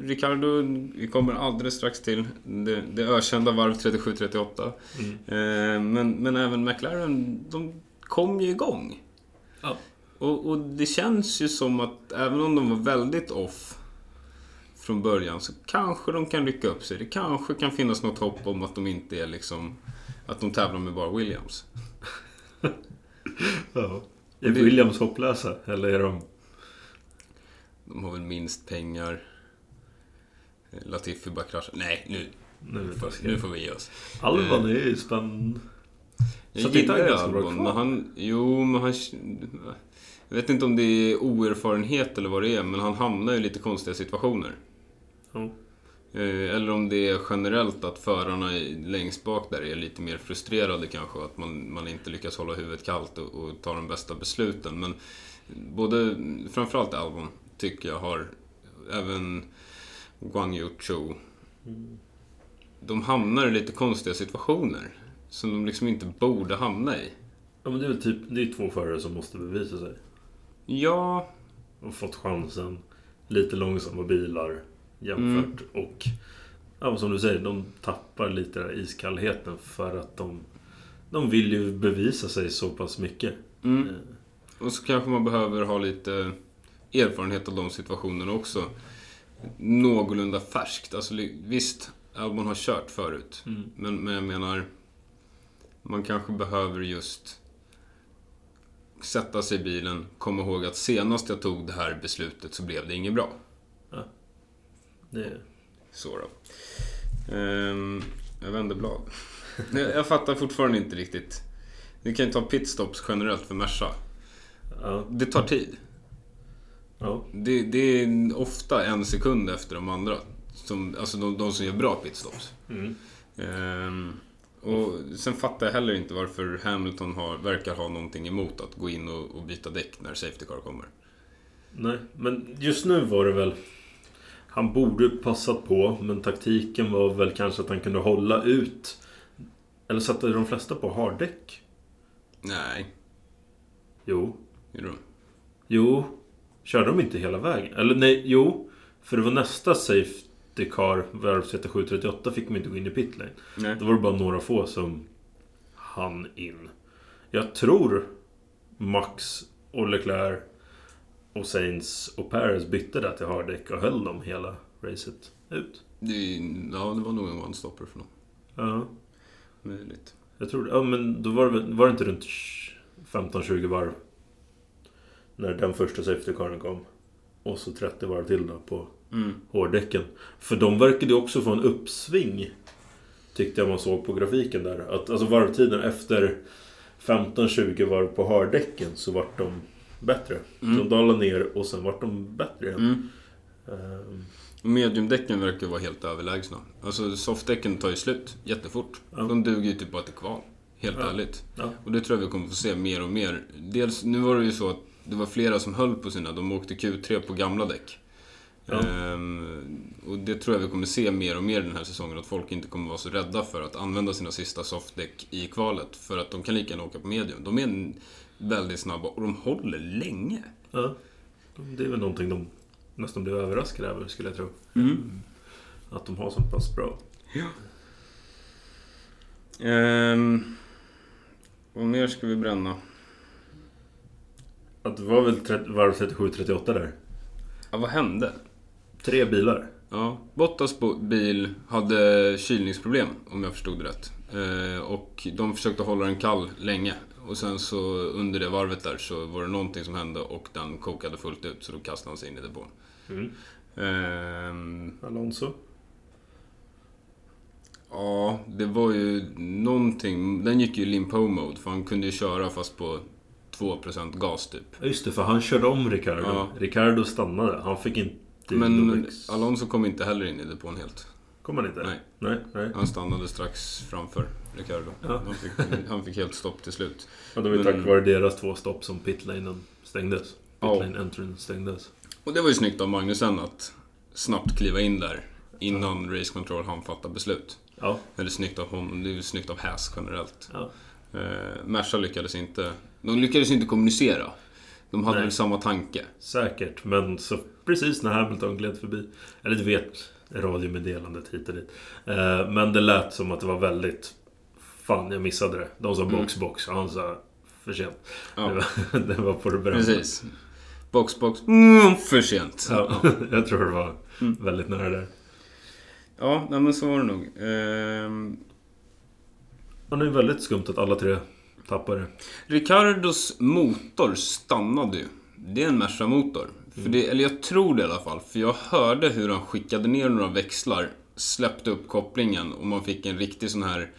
A: Ricardo, vi kommer alldeles strax till det, det ökända varv 37-38.
B: Mm.
A: Ehm, men, men även McLaren, de kom ju igång.
B: Ja.
A: Och, och det känns ju som att även om de var väldigt off från början så kanske de kan rycka upp sig. Det kanske kan finnas något hopp om att de inte är liksom... Att de tävlar med bara Williams.
B: Ja. Är Williams hopplösa? Eller är de...
A: De har väl minst pengar. Eh, Latifi bara kraschar. Nej, nu,
B: Nu,
A: nu får vi ge oss.
B: Alban är ju spännande. Så
A: Eh, Jag
B: det är
A: gillar ju
B: ganska bra
A: Albon,
B: kvar.
A: men han... Jo, men han... Jag vet inte om det är oerfarenhet eller vad det är, men han hamnar ju i lite konstiga situationer.
B: Ja.
A: Eh, Eller om det är generellt att förarna i- längst bak där är lite mer frustrerade kanske. Att man, man inte lyckas hålla huvudet kallt och, och ta de bästa besluten. Men både, framförallt Albon, tycker jag har även Guang Yu-Chu. De hamnar i lite konstiga situationer. Som de liksom inte borde hamna i.
B: Ja, men det är väl typ det är två förare som måste bevisa sig.
A: Ja,
B: Och fått chansen. Lite långsamma bilar jämfört.
A: Mm.
B: Och ja, men som du säger, de tappar lite den här iskallheten för att de, de vill ju bevisa sig så pass mycket.
A: Mm.
B: Eh,
A: Och så kanske man behöver ha lite erfarenhet av de situationerna också. Någorlunda färskt. Alltså, li- visst, Albon har kört förut.
B: Mm.
A: Men, men jag menar, man kanske behöver just sätta sig i bilen, komma ihåg att senast jag tog det här beslutet så blev det inget bra.
B: Det,
A: Så då. Ehm, jag vänder blad. jag, jag fattar fortfarande inte riktigt. Ni kan ju ta pitstops generellt för Merca.
B: ja,
A: Det tar tid.
B: ja,
A: Det, det är ofta en sekund efter de andra. Som, alltså de, de som gör bra pitstops.
B: mm.
A: Ehm, och sen fattar jag heller inte varför Hamilton har, verkar ha någonting emot att gå in och, och byta däck när Safety Car kommer.
B: Nej, men just nu var det väl... Han borde passat på, men taktiken var väl kanske att han kunde hålla ut. Eller satte de flesta på harddäck?
A: Nej,
B: Jo.
A: gjorde de?
B: Jo. Körde de inte hela vägen? Eller nej, jo. För det var nästa safety car, varv 37-38, fick man inte gå in i pit lane.
A: Nej.
B: Då var det bara några få som hann in. Jag tror Max och Leclerc och Sainz och Perez bytte där till harddäck och höll dem hela racet ut.
A: Det, ja, det var nog en one-stopper för någon.
B: Ja,
A: Möjligt.
B: jag tror det. Ja, men då var det, väl- var det inte runt 15-20 varv? När den första safety caren kom. Och så 30 varv till då på
A: Mm.
B: hårdäcken. För de verkade ju också få en uppsving. Tyckte jag man såg på grafiken där. Att, alltså varvtiden efter 15-20 varv på hårdäcken så vart de bättre.
A: Mm.
B: De dalade ner och sen vart de bättre igen.
A: Mm.
B: Ehm,
A: Och Mediumdäcken verkar ju vara helt överlägsna. Alltså softdäcken tar ju slut jättefort.
B: Ja.
A: De duger ju typ bara till kval. Helt
B: Ja.
A: ärligt.
B: ja.
A: Och det tror jag vi kommer få se mer och mer. Dels, nu var det ju så att det var flera som höll på sina. De åkte Q3 på gamla däck.
B: Ja.
A: Ehm, och det tror jag vi kommer se mer och mer den här säsongen. Att folk inte kommer vara så rädda för att använda sina sista softdäck i kvalet. För att de kan lika gärna åka på medium. De är n- väldigt snabba och de håller länge.
B: ja. Det är väl någonting de nästan blev överraskade över skulle jag tro.
A: Mm.
B: Att de har så pass bra.
A: Ehm, vad mer ska vi bränna?
B: Att det var väl 30, varv 37-38 där.
A: Ja, vad hände?
B: Tre bilar.
A: Ja, Bottas bo- bil hade kylningsproblem om jag förstod det rätt. Eh, och de försökte hålla den kall länge. Och sen så under det varvet där så var det någonting som hände och den kokade fullt ut så då kastade han sig in i depån.
B: Mm.
A: Ehm,
B: Alonso.
A: ja, det var ju någonting, den gick ju i limpo-mode för han kunde ju köra fast på 2% gas typ.
B: Ja, Just det, för han körde om Ricardo.
A: Ja.
B: Ricardo stannade. Han fick inte...
A: Men
B: dubbelx-
A: Alonso kom inte heller in i depån helt.
B: Kom han inte?
A: Nej.
B: Nej, nej.
A: Han stannade strax framför Ricardo.
B: Ja.
A: Han, fick, han fick helt stopp till slut.
B: Ja, det var ju tack
A: Men-
B: vare deras två stopp som pitlanen stängdes.
A: Ja.
B: Pitlane entrin stängdes.
A: Och det var ju snyggt av Magnusen att snabbt kliva in där innan Race Control hann fatta beslut.
B: Ja,
A: Eller snyggt av honom, det är ju snyggt av Haas generellt.
B: ja.
A: Eh, Merca lyckades inte, de lyckades inte kommunicera. De hade
B: Nej.
A: väl samma tanke.
B: Säkert, men så precis när Hamilton gled förbi. Eller du vet, radiomeddelandet hit och dit. Eh, men det lät som att det var väldigt... Fan, jag missade det. De sa box, box. Och han sa för sent.
A: Mm. Ja.
B: Det, var, det var på det berömda.
A: Precis. Box, box. Mm, för sent.
B: Ja, jag tror det var
A: Mm.
B: väldigt nära där.
A: Ja, nej, men så var det nog. Ehm,
B: Och det är väldigt skumt att alla tre tappar det.
A: Ricardos motor stannade ju. Det är en Merca-motor. För det, eller jag tror det i alla fall. För jag hörde hur han skickade ner några växlar, släppte upp kopplingen och man fick en riktig sån här...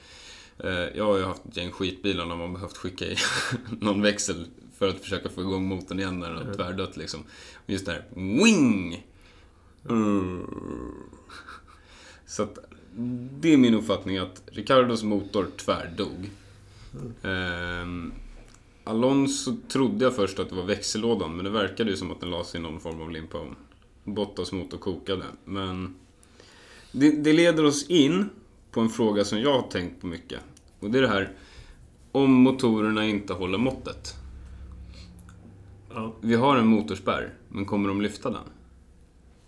A: Eh, jag har ju haft ett gäng skitbilar när man behövt skicka i någon växel för att försöka få igång motorn igen när den har tvärdött liksom. Och just det här wing! Mm. Så att, det är min uppfattning att Ricardos motor tvärdog. Ehm, Alonso trodde jag först att det var växellådan, men det verkade ju som att den lades i någon form av limpa. Bottas motor kokade. Men det, det leder oss in på en fråga som jag har tänkt på mycket. Och det är det här, om motorerna inte håller måttet.
B: Ja.
A: Vi har en motorspärr, men kommer de lyfta den?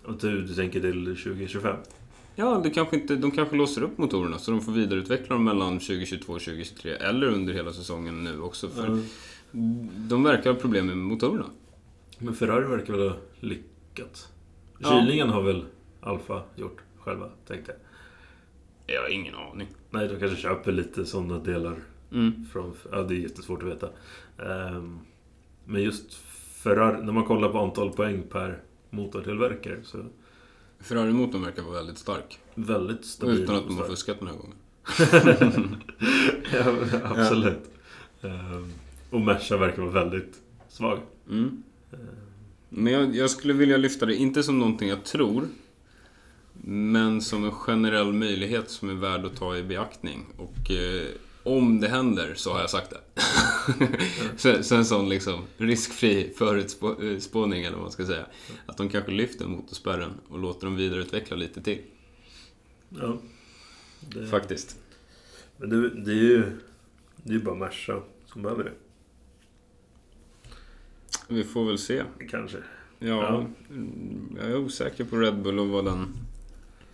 B: Och du, du tänker till 2025?
A: Ja, det kanske inte, de kanske låser upp motorerna så de får vidareutveckla dem mellan 2022 och 2023. Eller under hela säsongen nu också. För
B: Ja.
A: De verkar ha problem med motorerna.
B: Men Ferrari verkar väl ha lyckats?
A: Ja.
B: Kylningen har väl Alfa gjort själva, tänkte jag.
A: Jag har ingen aning.
B: Nej, de kanske köper lite sådana delar
A: Mm.
B: från... Ja, det är jättesvårt att veta. Ehm, men just Ferrari, när man kollar på antal poäng per motortillverkare så är det
A: Ferrari-motorn verkar vara väldigt stark.
B: väldigt stabil.
A: Utan att de har
B: och stark.
A: fuskat den här gången.
B: ja, men absolut. Ehm, och Merca verkar vara väldigt svag.
A: Mm. Men jag, jag skulle vilja lyfta det, inte som någonting jag tror, men som en generell möjlighet som är värd att ta i beaktning. Och eh, om det händer så har jag sagt det. så, så en sån liksom riskfri förutspåning eller vad man ska säga. Att de kanske lyfter motorspärren och låter dem vidareutveckla lite till.
B: Ja. Det,
A: Faktiskt.
B: Men det, det är ju det är ju bara Merca som behöver det.
A: Vi får väl se.
B: Kanske.
A: Ja,
B: Ja.
A: mm, jag är osäker på Red Bull och vad den,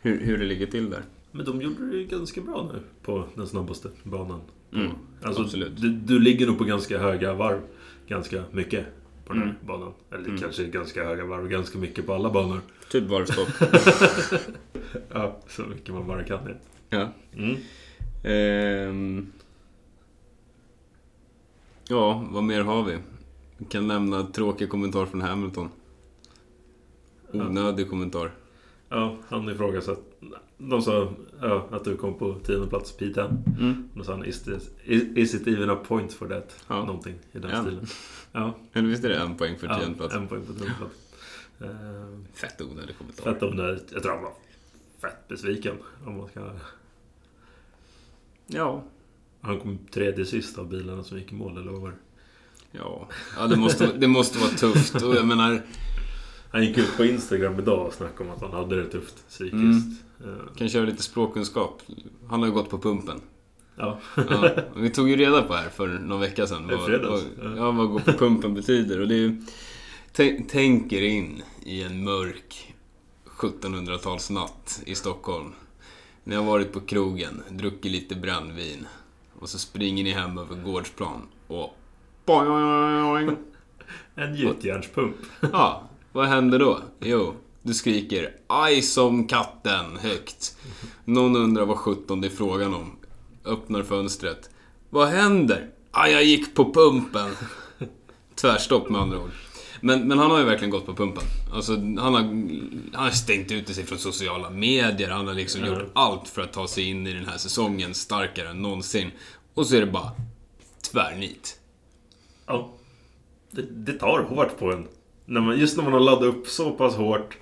A: hur, hur det ligger till där.
B: Men de gjorde det ju ganska bra nu på den snabbaste banan.
A: Mm,
B: Alltså,
A: absolut.
B: Du, du ligger nog på ganska höga varv. Ganska mycket på den här
A: Mm.
B: banan. Eller
A: Mm.
B: kanske ganska höga varv, ganska mycket på alla banor.
A: Typ varvstopp.
B: Ja, så mycket man bara kan. det.
A: ja.
B: Mm.
A: Ehm. ja, vad mer har vi? Vi kan lämna tråkig kommentar från Hamilton. Onödig kommentar.
B: Ja, han ifrågasatt. De sa ja, att du kom på tionde plats, Pita.
A: Mm.
B: Då sa han is, this, is, is it even a point for that?
A: Ja.
B: Någonting i den
A: En.
B: stilen. Ja,
A: Eller visst är det en poäng för
B: ja,
A: tiondeplats?
B: en poäng på tionde plats. Ehm,
A: Fett onödig kommentar.
B: Fett onödigt. Jag tror han var fett besviken. Om man ska...
A: Ja.
B: Han kom tredje sist av bilarna som gick i mål, eller vad var det?
A: Ja, ja det, måste, det måste vara tufft. Och jag menar,
B: Han gick ut på Instagram idag och snackade om att han hade det tufft psykiskt. Eh,
A: kan köra lite språkkunskap. Han har ju gått på pumpen.
B: Ja.
A: Ja, och vi tog ju reda på här för någon vecka sedan.
B: I fredags,
A: vad,
B: ja.
A: ja, vad gå på pumpen betyder. Och det är ju, tä- tänk er in i en mörk 1700-talsnatt i Stockholm. Ni har varit på krogen, druckit lite brännvin. Och så springer ni hem över gårdsplan och... Boing, boing, boing.
B: En gjutjärnspump.
A: Ja, vad händer då? Jo, du skriker aj som katten högt. Någon undrar vad sjutton det är frågan om. Öppnar fönstret. Vad händer? Aj, jag gick på pumpen. Tvärstopp med andra ord. Men, men han har ju verkligen gått på pumpen. Alltså, han, har, han har stängt ute sig från sociala medier. Han har liksom
B: Ja.
A: gjort allt för att ta sig in i den här säsongen starkare än någonsin. Och så är det bara tvärnit.
B: Ja. Det, det tar hårt på en. När man, just när man har laddat upp så pass hårt.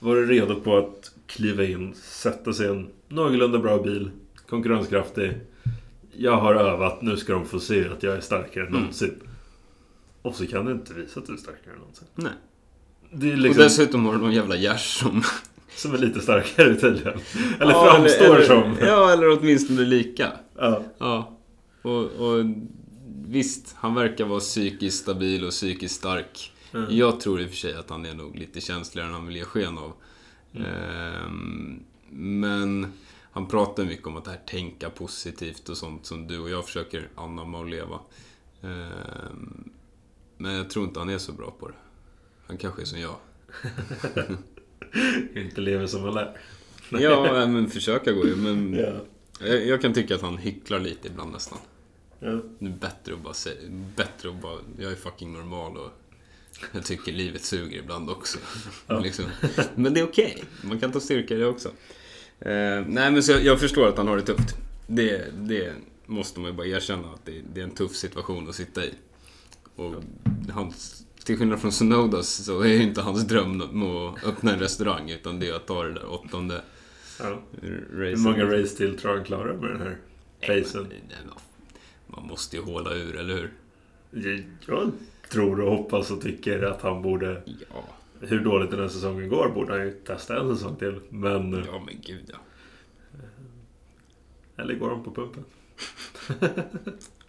B: Varit redo på att kliva in, sätta sig i en någorlunda bra bil. Konkurrenskraftig. Jag har övat, nu ska de få se att jag är starkare
A: Mm.
B: än någonsin. Och så kan du inte visa att du är starkare än någonsin.
A: Nej.
B: Det är liksom
A: Och dessutom har de någon jävla gärs som...
B: som är lite starkare tydligen. Eller
A: Ja,
B: framstår
A: eller-
B: som.
A: Ja, eller åtminstone lika.
B: Ja.
A: Ja. Och, och visst, han verkar vara psykiskt stabil och psykiskt stark.
B: Mm.
A: Jag tror i och för sig att han är nog lite känsligare än han vill ge sken av.
B: Mm.
A: Ehm, men han pratar mycket om att det här tänka positivt och sånt som du och jag försöker anamma och leva. Ehm, men jag tror inte han är så bra på det. Han kanske är som jag.
B: Inte lever som man lär.
A: Ja, men försöka går ju. Men
B: Ja.
A: jag, jag kan tycka att han hycklar lite ibland nästan.
B: Ja.
A: Det är bättre att bara säga, bättre att bara, jag är fucking normal och jag tycker livet suger ibland också.
B: Ja.
A: liksom. Men det är okej, man kan ta styrka i det också. Eh, nej men så jag, jag förstår att han har det tufft. Det, det måste man ju bara erkänna, att det, det är en tuff situation att sitta i. Och hans, till skillnad från Sonodas så är ju inte hans dröm att öppna en restaurang, utan det är att ta det där åttonde
B: Ja. Hur
A: racet.
B: många race till tror han klarar med den här pacen?
A: Nej, men Man måste ju håla ur, eller hur?
B: Jag tror och hoppas och tycker att han borde,
A: Ja.
B: hur dåligt den här säsongen går, borde han ju testa en säsong till. Men,
A: Ja men gud ja.
B: eller går han på pumpen?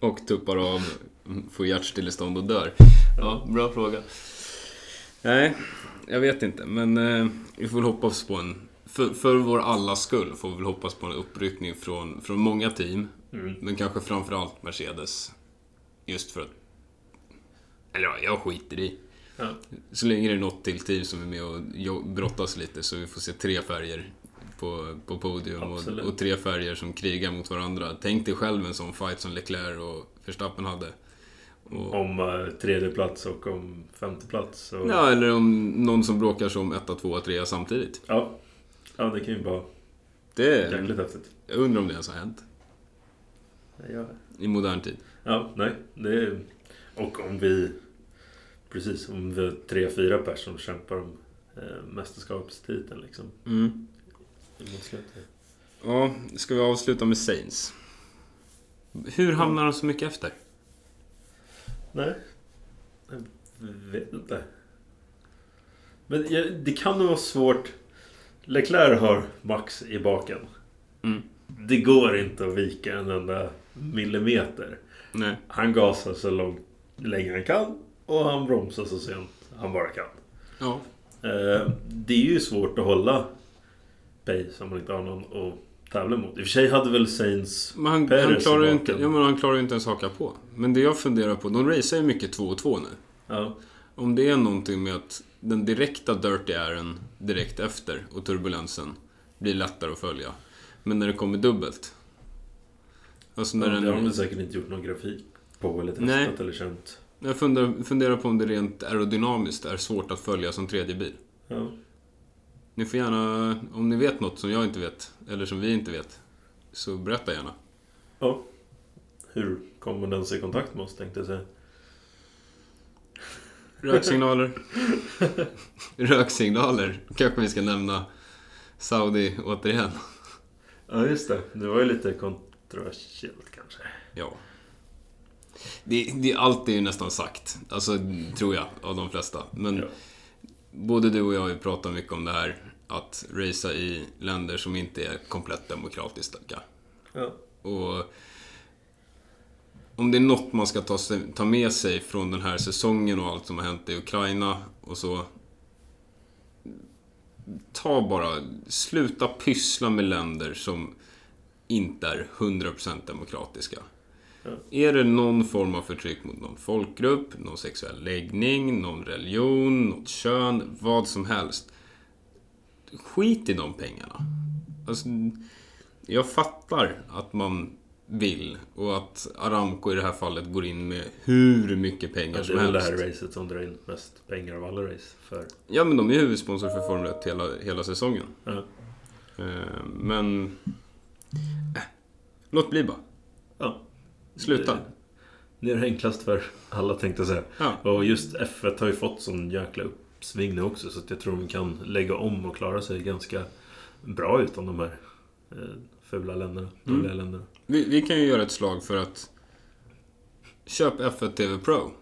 A: Och tuppar av, mm, får hjärtstillestånd och dör. Ja, bra fråga. Nej, jag vet inte. Men eh, vi får väl hoppas på en... För, för vår allas skull får vi väl hoppas på en uppryckning från, från många team. Men kanske framförallt Mercedes. Just för att... Eller ja, jag skiter i.
B: Ja.
A: Så länge det är något till team som är med och jo- brottas lite så vi får se tre färger på, på podium och,
B: Absolut.
A: och tre färger som krigar mot varandra. Tänk dig själv en sån fight som Leclerc och Verstappen hade. Och,
B: Om eh, tredje plats och om femte plats. Och,
A: ja, eller om någon som bråkar som etta, tvåa, trea samtidigt.
B: ja. Ja, det kan ju vara
A: Det,
B: jäkligt häftigt.
A: jag undrar om det ens har hänt
B: Ja.
A: i modern tid.
B: Ja, nej. Det är... Och om vi... Precis, om vi är tre, fyra personer som kämpar om eh, mästerskapstiteln liksom. Mot slutet.
A: Mm. Ja, ska vi avsluta med Saints? Hur hamnar de så mycket efter?
B: Nej. Jag vet inte. Men jag, det kan nog vara svårt. Leclerc har Max i baken.
A: Mm.
B: Det går inte att vika en enda millimeter.
A: Nej.
B: Han gasar så långt, länge han kan och han bromsar så sent han bara kan.
A: Ja.
B: Eh, Det är ju svårt att hålla pace om man inte har någon att tävla mot. I och för sig hade väl Saints...
A: Men han,
B: Perez
A: han
B: i
A: klarar ju
B: baken.
A: inte, ja, men han klarar ju inte ens haka på. Men det jag funderar på, de racear ju mycket 2 och 2 nu.
B: Ja,
A: Om det är någonting med att den direkta Dirty Airen direkt efter och turbulensen blir lättare att följa. Men när det kommer dubbelt. Alltså när
B: det har de
A: den,
B: väl säkert inte gjort någon grafik på eller testat
A: Nej.
B: eller känt.
A: jag funderar, funderar på om det rent aerodynamiskt är svårt att följa som tredje bil.
B: Ja.
A: Ni får gärna, om ni vet något som jag inte vet, eller som vi inte vet, så berätta gärna.
B: ja. Hur kommer den sig i kontakt med oss tänkte jag säga.
A: Röksignaler. Röksignaler. Kanske vi ska nämna Saudi återigen.
B: Ja, just det. Det var ju lite kontroversiellt kanske.
A: Ja. Det, det, allt är ju nästan sagt. Alltså, tror jag, av de flesta. Men
B: Ja.
A: både du och jag har ju pratat mycket om det här. Att racea i länder som inte är komplett demokratiska.
B: Ja.
A: Och om det är något man ska ta, sig, ta med sig från den här säsongen och allt som har hänt i Ukraina och så. Ta bara, sluta pyssla med länder som inte är 100% demokratiska.
B: Ja.
A: Är det någon form av förtryck mot någon folkgrupp, någon sexuell läggning, någon religion, något kön, vad som helst. Skit i de pengarna. Alltså, jag fattar att man vill. Och att Aramco i det här fallet går in med hur mycket pengar
B: Ja, det
A: som
B: är väl det
A: helst.
B: här racet som drar in mest pengar av alla race. För,
A: Ja, men de är ju huvudsponsor för Formel 1 hela, hela säsongen.
B: Ja.
A: Eh, men... eh, låt bli bara.
B: ja.
A: Sluta.
B: Det, det är det enklast för alla tänkte jag säga.
A: Ja.
B: Och just F1 har ju fått sån jäkla uppsving nu också. Så att jag tror de kan lägga om och klara sig ganska bra utan de här eh, fula länderna. Dåliga länderna.
A: Vi, vi kan ju göra ett slag för att köp F1 TV Pro.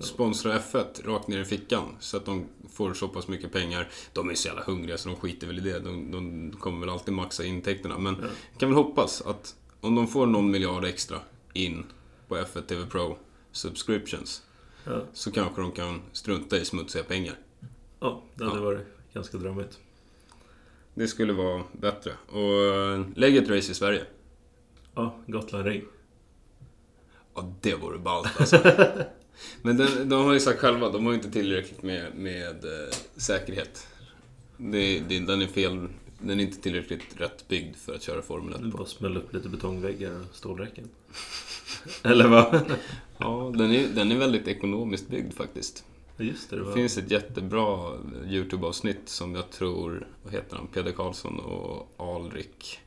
A: Sponsra F1 rakt ner i fickan så att de får så pass mycket pengar. De är ju så jävla hungriga så de skiter väl i det. De, de kommer väl alltid maxa intäkterna. Men
B: Ja.
A: kan väl hoppas att om de får någon miljard extra in på F1 TV Pro subscriptions
B: Ja.
A: så kanske de kan strunta i smutsiga pengar.
B: Ja, det hade
A: Ja.
B: varit ganska drömmigt.
A: Det skulle vara bättre. Och eh, lägg ett race i Sverige.
B: Ja, Gotland Ring.
A: Ja, det vore ballt alltså. Men den, de har ju sagt själva, de har ju inte tillräckligt med, med eh, säkerhet. Det, det, den är fel, den är inte tillräckligt rätt byggd för att köra Formel
B: Nu
A: 1 på.
B: bara smälla upp lite betongväggar och stålräcken. Eller vad?
A: Ja, den är, den är väldigt ekonomiskt byggd faktiskt.
B: Ja, Just det, det
A: Det
B: var...
A: finns ett jättebra eh, YouTube-avsnitt som jag tror, vad heter han, Peder Karlsson och Alrik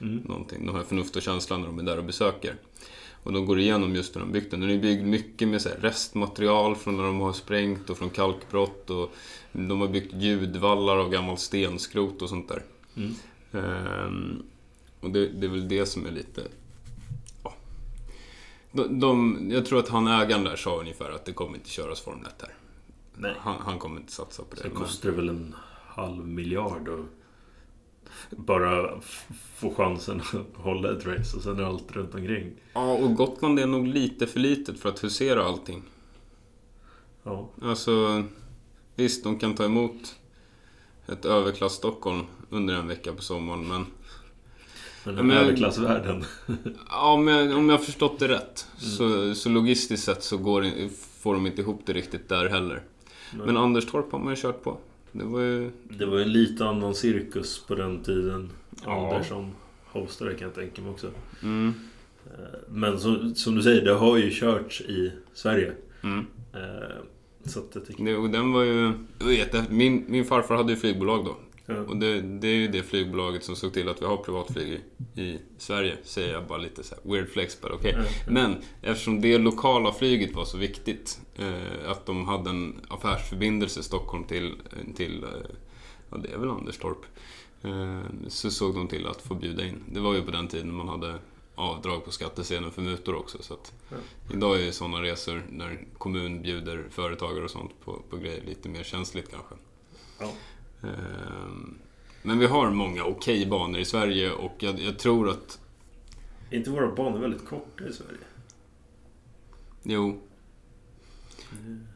B: Mm.
A: någonting. De har förnuft och känsla när de är där och besöker. Och de går igenom just hur de byggt den. Den är byggd mycket med så här restmaterial från när de har sprängt och från kalkbrott. Och de har byggt ljudvallar av gammalt stenskrot och sånt där.
B: Mm.
A: Ehm, och det, det är väl det som är lite... Ja. De, de, jag tror att han ägaren där sa ungefär att det kommer inte köras Formel 1 här.
B: Nej.
A: Han, han kommer inte satsa på det.
B: Sen
A: men-
B: kostar det väl en halv miljard att bara f- få chansen att hålla ett race och sen är allt runt omkring.
A: Ja, och Gotland är nog lite för litet för att husera allting.
B: Ja,
A: Alltså, visst, de kan ta emot ett överklass Stockholm under en vecka på sommaren, men...
B: men
A: Ja,
B: den
A: men-
B: överklassvärlden.
A: Ja, om jag, om jag har förstått det rätt, så, så logistiskt sett så går, det- får de inte ihop det riktigt där heller.
B: Nej.
A: Men Anderstorp har man ju kört på. Det var ju...
B: Det var ju en lite annan cirkus på den tiden.
A: Ja.
B: Andersson hostade kan jag tänka mig också.
A: Mm,
B: Eh, Men som, som du säger, det har ju körts i Sverige.
A: mm.
B: Eh, Så att jag tycker...
A: Det, och den var ju... det var jätte- Min, min farfar hade ju flygbolag då.
B: Ja.
A: Och det, det är ju det flygbolaget som såg till att vi har privatflyg i, i Sverige, säger jag bara lite så här, weird flex, but okay.
B: Ja.
A: Men eftersom det lokala flyget var så viktigt, eh, att de hade en affärsförbindelse Stockholm till, till eh, ja det är väl Anderstorp, eh, så såg de till att få bjuda in. Det var ju på den tiden man hade avdrag på skattesedeln för mutor också. Så att
B: Ja.
A: Idag är ju sådana resor när kommun bjuder företagare och sånt på, på grejer lite mer känsligt kanske.
B: Ja.
A: Ehm, Men vi har många okej banor i Sverige och jag, jag tror att...
B: Är inte våra banor väldigt korta i Sverige?
A: Jo.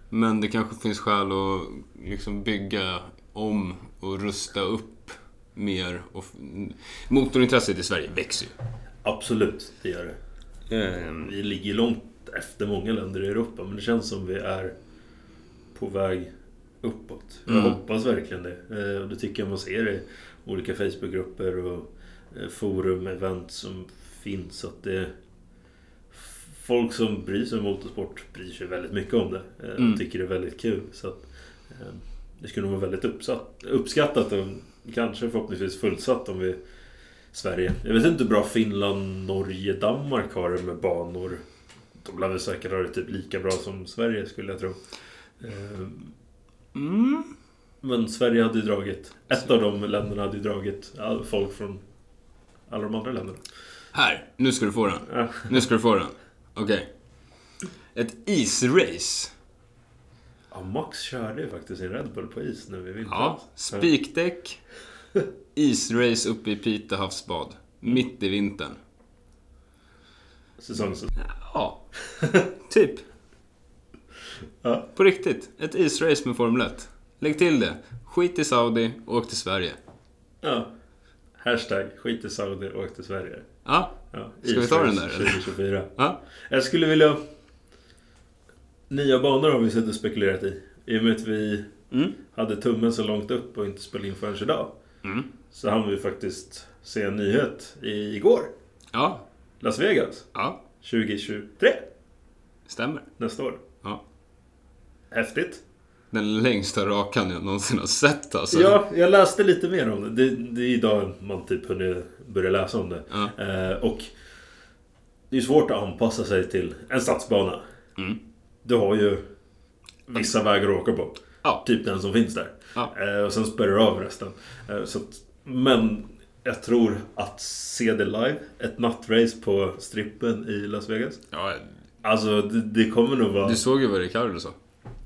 A: Men det kanske finns skäl att liksom bygga om och rusta upp mer. Och f- motorintresset i Sverige växer ju.
B: Absolut, det gör det. Ehm, Vi ligger långt efter många länder i Europa men det känns som vi är på väg uppåt. Jag
A: Mm.
B: hoppas verkligen det. Eh, Och det tycker jag man ser i olika Facebookgrupper och eh, forum, event som finns. Att det Folk som bryr sig om motorsport bryr sig väldigt mycket om det. eh, Och
A: Mm.
B: tycker det är väldigt kul. Så att, eh, det skulle nog vara väldigt uppsatt, uppskattat och kanske förhoppningsvis fullsatt om vi Sverige. Jag vet inte hur bra Finland, Norge, Danmark har det med banor. De lär väl säkert ha det typ lika bra som Sverige skulle jag tro. Eh,
A: Mm.
B: Men Sverige hade ju dragit. Ett av de länderna hade ju dragit all- folk från alla de andra länderna.
A: Här! Nu ska du få den.
B: Ja.
A: Nu ska du få den. Okej. Ett israce.
B: Ja, Max körde ju faktiskt sin Red Bull på is nu i vinter.
A: Ja, spikdäck, israce uppe i Pite havsbad. Mitt i vintern.
B: Säsongs-
A: Ja, typ.
B: Ja.
A: På riktigt, ett israce med Formel 1. Lägg till det. Skit i Saudi, åk till Sverige.
B: ja. Hashtag skit i Saudi, åk till Sverige.
A: Ja,
B: Ja,
A: Ska vi ta den där, eller?
B: 2024.
A: ja.
B: Jag skulle vilja... Nya banor har vi suttit och spekulerat i. I och med att vi
A: Mm.
B: hade tummen så långt upp och inte spelade in förrän idag.
A: Mm.
B: Så hann vi faktiskt se en nyhet i- igår.
A: Ja,
B: Las Vegas
A: Ja,
B: 2023.
A: stämmer.
B: Nästa år.
A: Ja.
B: Häftigt.
A: Den längsta rakan jag någonsin har sett alltså.
B: Ja, jag läste lite mer om det. Det, det är idag man typ hunnit börja läsa om det.
A: Ja.
B: Eh, och det är ju svårt att anpassa sig till en stadsbana.
A: Mm.
B: Du har ju vissa vägar att åka på.
A: Ja.
B: Typ den som finns där.
A: Ja.
B: Eh, och sen spärrar du av resten. Eh, så att, men jag tror att se det live, ett nattrace på strippen i Las Vegas.
A: Ja,
B: Alltså det, det kommer nog vara...
A: du såg ju vad Ricardo sa.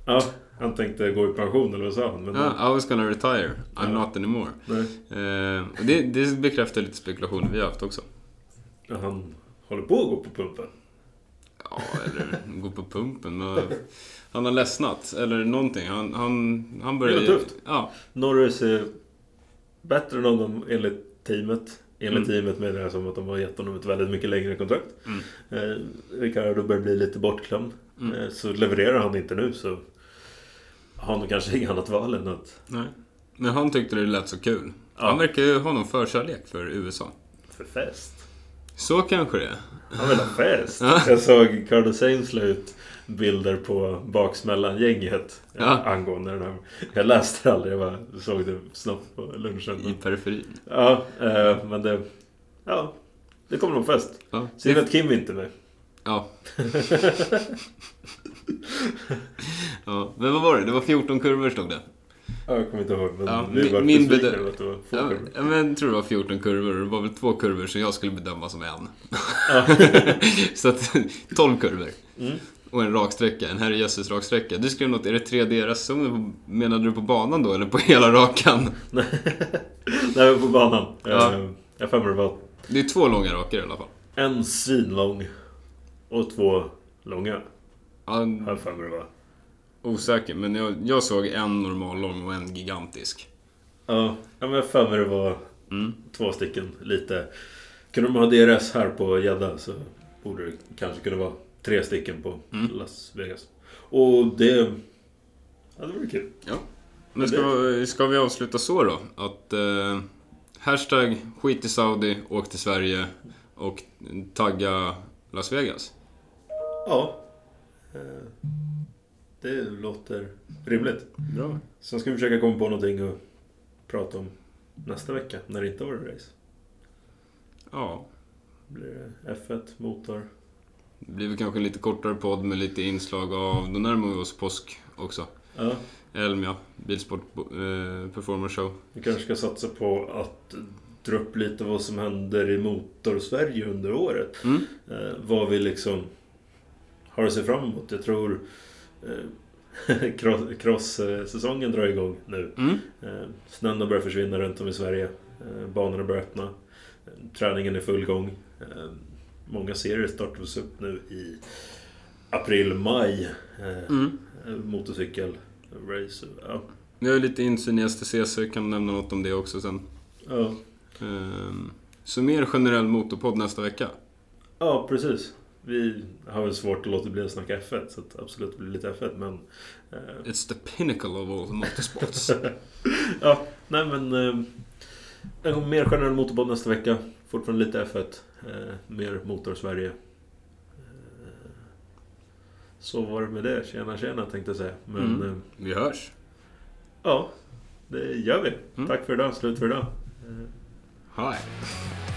B: Ja, han tänkte gå i pension eller vad sa han? Men,
A: Ja, I was gonna retire, I'm
B: Ja.
A: not anymore.
B: nej,
A: Eh, och det, det bekräftar lite spekulationer vi har haft också.
B: han håller på att gå på pumpen.
A: Ja, eller gå på pumpen. Och, han har ledsnat, eller någonting. Han, han, han började...
B: Det var tufft.
A: Ja,
B: Norris är bättre än honom enligt teamet. Enligt
A: Mm.
B: teamet menar jag som att de har gett honom ett väldigt mycket längre kontrakt.
A: Mm.
B: Eh, Ricardo börjar bli lite bortglömd.
A: Mm.
B: Eh, så levererar han inte nu så har han kanske inget annat val än att
A: nej. Men han tyckte det lät så kul.
B: Ja.
A: Han verkar ju ha någon förkärlek för USA.
B: för fest.
A: Så kanske det är.
B: Han vill ha fest.
A: Ja.
B: jag såg Carlos Sainz la ut bilder på baksmällan-gänget eh,
A: Ja.
B: angående den här. Jag läste det aldrig, jag bara såg det snabbt på lunchen.
A: I periferin.
B: Ja, eh, men det... Ja, det kommer nog fest.
A: Ja.
B: Synd att Kim inte är med.
A: Ja. ja. Men vad var det? Det var 14 kurvor stod det.
B: Ja, jag kommer inte ihåg. Men
A: Ja,
B: vi
A: min-
B: var
A: min
B: besvikna
A: bedö-
B: över att det var få
A: Ja,
B: kurvor.
A: men- ja, men jag tror det var 14 kurvor. Det var väl två kurvor som jag skulle bedöma som en.
B: Ja.
A: Så att 12 kurvor.
B: Mm.
A: Och en raksträcka, en herrejösses raksträcka. Du skrev något, är det tre deras zoner? Menade du på banan då eller på hela rakan?
B: Nej, men på banan.
A: Ja.
B: Eh, Jag har för mig det var
A: Det är två långa rakor i alla fall.
B: en svinlång och två långa.
A: Ja,
B: Har jag för mig det var.
A: osäker, men jag, jag såg en normal lång och en gigantisk.
B: Ja, ja, men jag har för mig det var
A: Mm.
B: två stycken lite. Kunde de ha DRS här på Gädda så borde det kanske kunna vara tre stycken på
A: Mm.
B: Las Vegas. Och det... Ja, det vore kul.
A: Men ska, ska vi avsluta så då? Att eh, hashtag skit i Saudi, åk till Sverige och tagga Las Vegas.
B: Ja. Eh, Det låter rimligt.
A: Bra.
B: Sen ska vi försöka komma på någonting att prata om nästa vecka när det inte var race.
A: Ja.
B: Blir det F1, motor?
A: Det blir väl kanske en lite kortare podd med lite inslag av, då närmar vi oss påsk också.
B: Ja,
A: Elmia, Bilsport eh, Performance Show.
B: vi kanske ska satsa på att dra upp lite vad som händer i motorsverige under året.
A: Mm.
B: Eh, vad vi liksom har att se fram emot. Jag tror eh, cross- cross-säsongen drar igång nu.
A: Mm.
B: Eh, Snön har börjat försvinna runt om i Sverige. Eh, Banorna börjar öppna. Eh, Träningen är i full gång. Eh, Många serier startas upp nu i april, maj. Eh,
A: Mm.
B: eh, Motorcykel, race. Ja.
A: Vi har ju lite insyn i STCC, kan nämna något om det också sen.
B: Ja.
A: Ehm, så mer generell motorpodd nästa vecka.
B: ja, precis. Vi har väl svårt att låta bli att snacka F1 så att absolut det blir lite F1 men... eh,
A: It's the pinnacle of all motorsports.
B: ja, nej men... eh, En mer generell motorpodd nästa vecka. Fortfarande lite F1. eh, Mer motor Sverige. Eh, Så var det med det. Tjena tjena tänkte jag säga. Men
A: Mm.
B: eh,
A: vi hörs.
B: ja, det gör vi.
A: Mm.
B: Tack för idag. Slut för idag. Eh,
A: Hi.